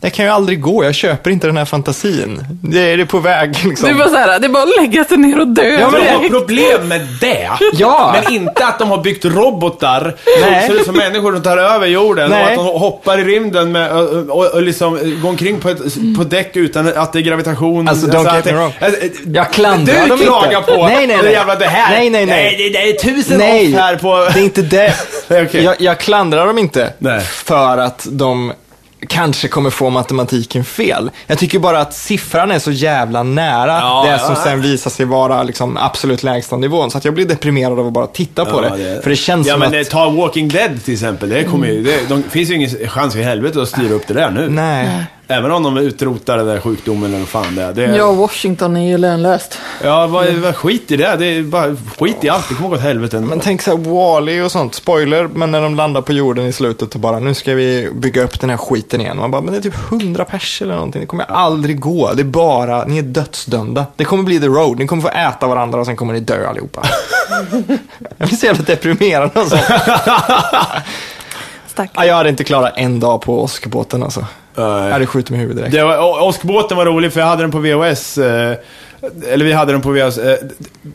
S1: det kan ju aldrig gå, jag köper inte den här fantasin. Det är det på väg liksom.
S3: Det är bara såhär, det är bara att lägga sig ner och dö.
S1: Ja, men
S2: De
S1: det-
S2: har problem med det.
S1: Ja.
S2: Men inte att de har byggt robotar
S1: Nej.
S2: som ser ut som människor som tar över jorden och
S1: Nej.
S2: att de hoppar i rymden med, och, och, och liksom går omkring på, ett, på däck utan att det är gravitation.
S1: Alltså, don't
S2: att
S1: get me
S2: det-
S1: wrong.
S2: alltså,
S1: Jag klandrar
S2: du
S1: dem inte.
S2: klagar på
S1: Nej, nej,
S2: det
S1: nej.
S2: jävla det här.
S1: Nej, nej, nej.
S2: nej det, det är tusen
S1: Nej,
S2: off här på...
S1: det är inte det.
S2: [LAUGHS] Nej, okej.
S1: jag, jag klandrar dem inte
S2: Nej.
S1: för att de kanske kommer få matematiken fel. Jag tycker bara att siffran är så jävla nära
S2: Ja,
S1: det som
S2: ja.
S1: sen visar sig vara liksom absolut lägsta nivån. Så att jag blir deprimerad av att bara titta på
S2: Ja,
S1: det. För det känns
S2: ja,
S1: som
S2: men
S1: att... Mm.
S2: eh, Ta Walking Dead till exempel. Det, kommer ju, det de, finns ju ingen chans i helvete att styra upp det där nu.
S1: Nej.
S2: Även om de utrotar den där sjukdomen eller vad fan det är. Det,
S3: Ja, Washington är ju lönlöst.
S2: Ja, vad, vad skit i det. Det är bara skit i allt. Det kommer gå åt helvete.
S1: Men tänk såhär, Wall-E och sånt, spoiler, men när de landar på jorden i slutet och bara nu ska vi bygga upp den här skiten igen. Man bara, men det är typ 100 pers eller någonting, det kommer aldrig gå. Det är bara, ni är dödsdömda. Det kommer bli the road, ni kommer få äta varandra och sen kommer ni dö allihopa. jag blir så jävla deprimerad alltså.
S3: Stackars.
S1: Ja, jag hade inte klarat en dag på åskbåten alltså. Jag hade skjutit mig i huvudet direkt.
S2: Det var, o- åskbåten var rolig för jag hade den på VHS. Eh, eller vi hade den på VHS. Eh,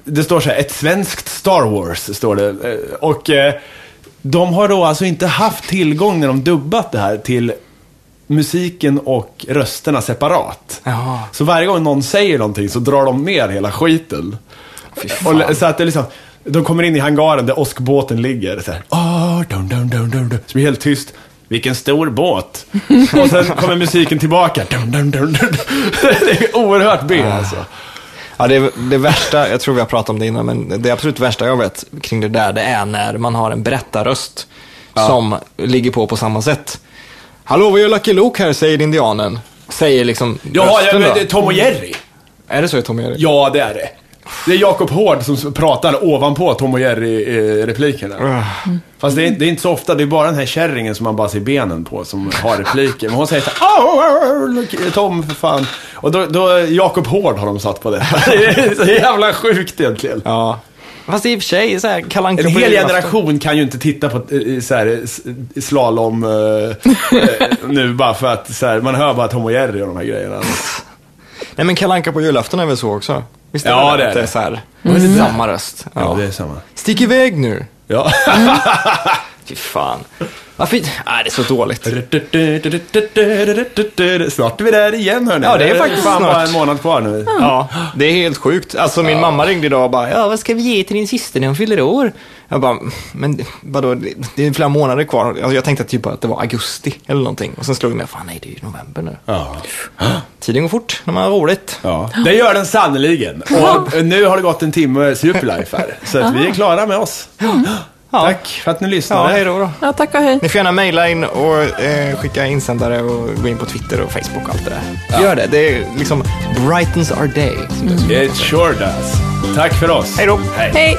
S2: det står så här, ett svenskt Star Wars, står det. Eh, och eh, de har då alltså inte haft tillgång när de dubbat det här till musiken och rösterna separat.
S1: Jaha.
S2: Så varje gång någon säger någonting så drar de ner hela skiten. Och, så att det är liksom, de kommer in i hangaren där åskbåten ligger. Så, här, "Ah, dum, dum, dum, dum, dum." så blir det helt tyst. Vilken stor [LAUGHS] båt! Och sen kommer musiken tillbaka. Dum, dum, dum, dum. [LAUGHS] Det är oerhört B alltså.
S1: Ja, det, det värsta, jag tror vi har pratat om det innan, men det absolut värsta jag vet kring det där, det är när man har en berättarröst som ligger på på samma sätt. Hallå, vad gör Lucky Luke här, säger indianen. Säger liksom
S2: Ja, ja
S1: rösten
S2: men
S1: då.
S2: det är Tom och Jerry.
S1: Är det så i Tom och Jerry?
S2: Ja, det är det. Det är Jakob Hård som pratar ovanpå Tom och Jerry-replikerna. Fast det är, det är inte så ofta, det är bara den här kärringen som man bara ser benen på som har repliker. Men hon säger såhär "Au, au, au, look, Tom för fan. Och då, då Jakob Hård har de satt på det. [LAUGHS] Det är så jävla sjukt egentligen.
S1: Ja. Fast i och för sig, så här, Kalle Anka
S2: En
S1: på
S2: hel
S1: julafton.
S2: generation kan ju inte titta på eh, så här, s- slalom eh, eh, nu bara för att så här, man hör bara Tom och Jerry och de här grejerna.
S1: Nej, men Kalle Anka på julafton är väl så också? Visst är
S2: Ja,
S1: det,
S2: det är
S1: att det.
S2: det.
S1: är så här. Mm. Samma röst. Ja.
S2: Ja, det är samma.
S1: Stick iväg nu.
S2: Ja.
S1: Fy fan. Varför? Nej, det är så dåligt.
S2: Snart är vi där igen hörni.
S1: Ja, det är faktiskt
S2: Fan,
S1: snart.
S2: bara en månad kvar nu.
S1: Ja, det är helt sjukt. Alltså min mamma ringde idag och bara, ja vad ska vi ge till din syster när hon fyller år? Jag bara, men vadå, det det är flera månader kvar. Alltså, jag tänkte typ bara att det var augusti eller någonting. Och sen slog jag mig, fan nej det är ju november nu.
S2: Ja.
S1: Tiden går fort när man har roligt.
S2: ja. Det gör den sannoliken. Och nu har det gått en timme Superlife här. Så att vi är klara med oss.
S1: Ja.
S2: Tack för att ni
S1: Ja,
S2: lyssnade.
S1: hej då. då.
S3: Ja, tack och hej.
S1: Ni får gärna mejla in och eh, skicka insändare och gå in på Twitter och Facebook och allt det där. Gör det, det är liksom brightens our day. Som det är så.
S2: It sure does. Tack för oss.
S1: Hej då.
S3: Hej!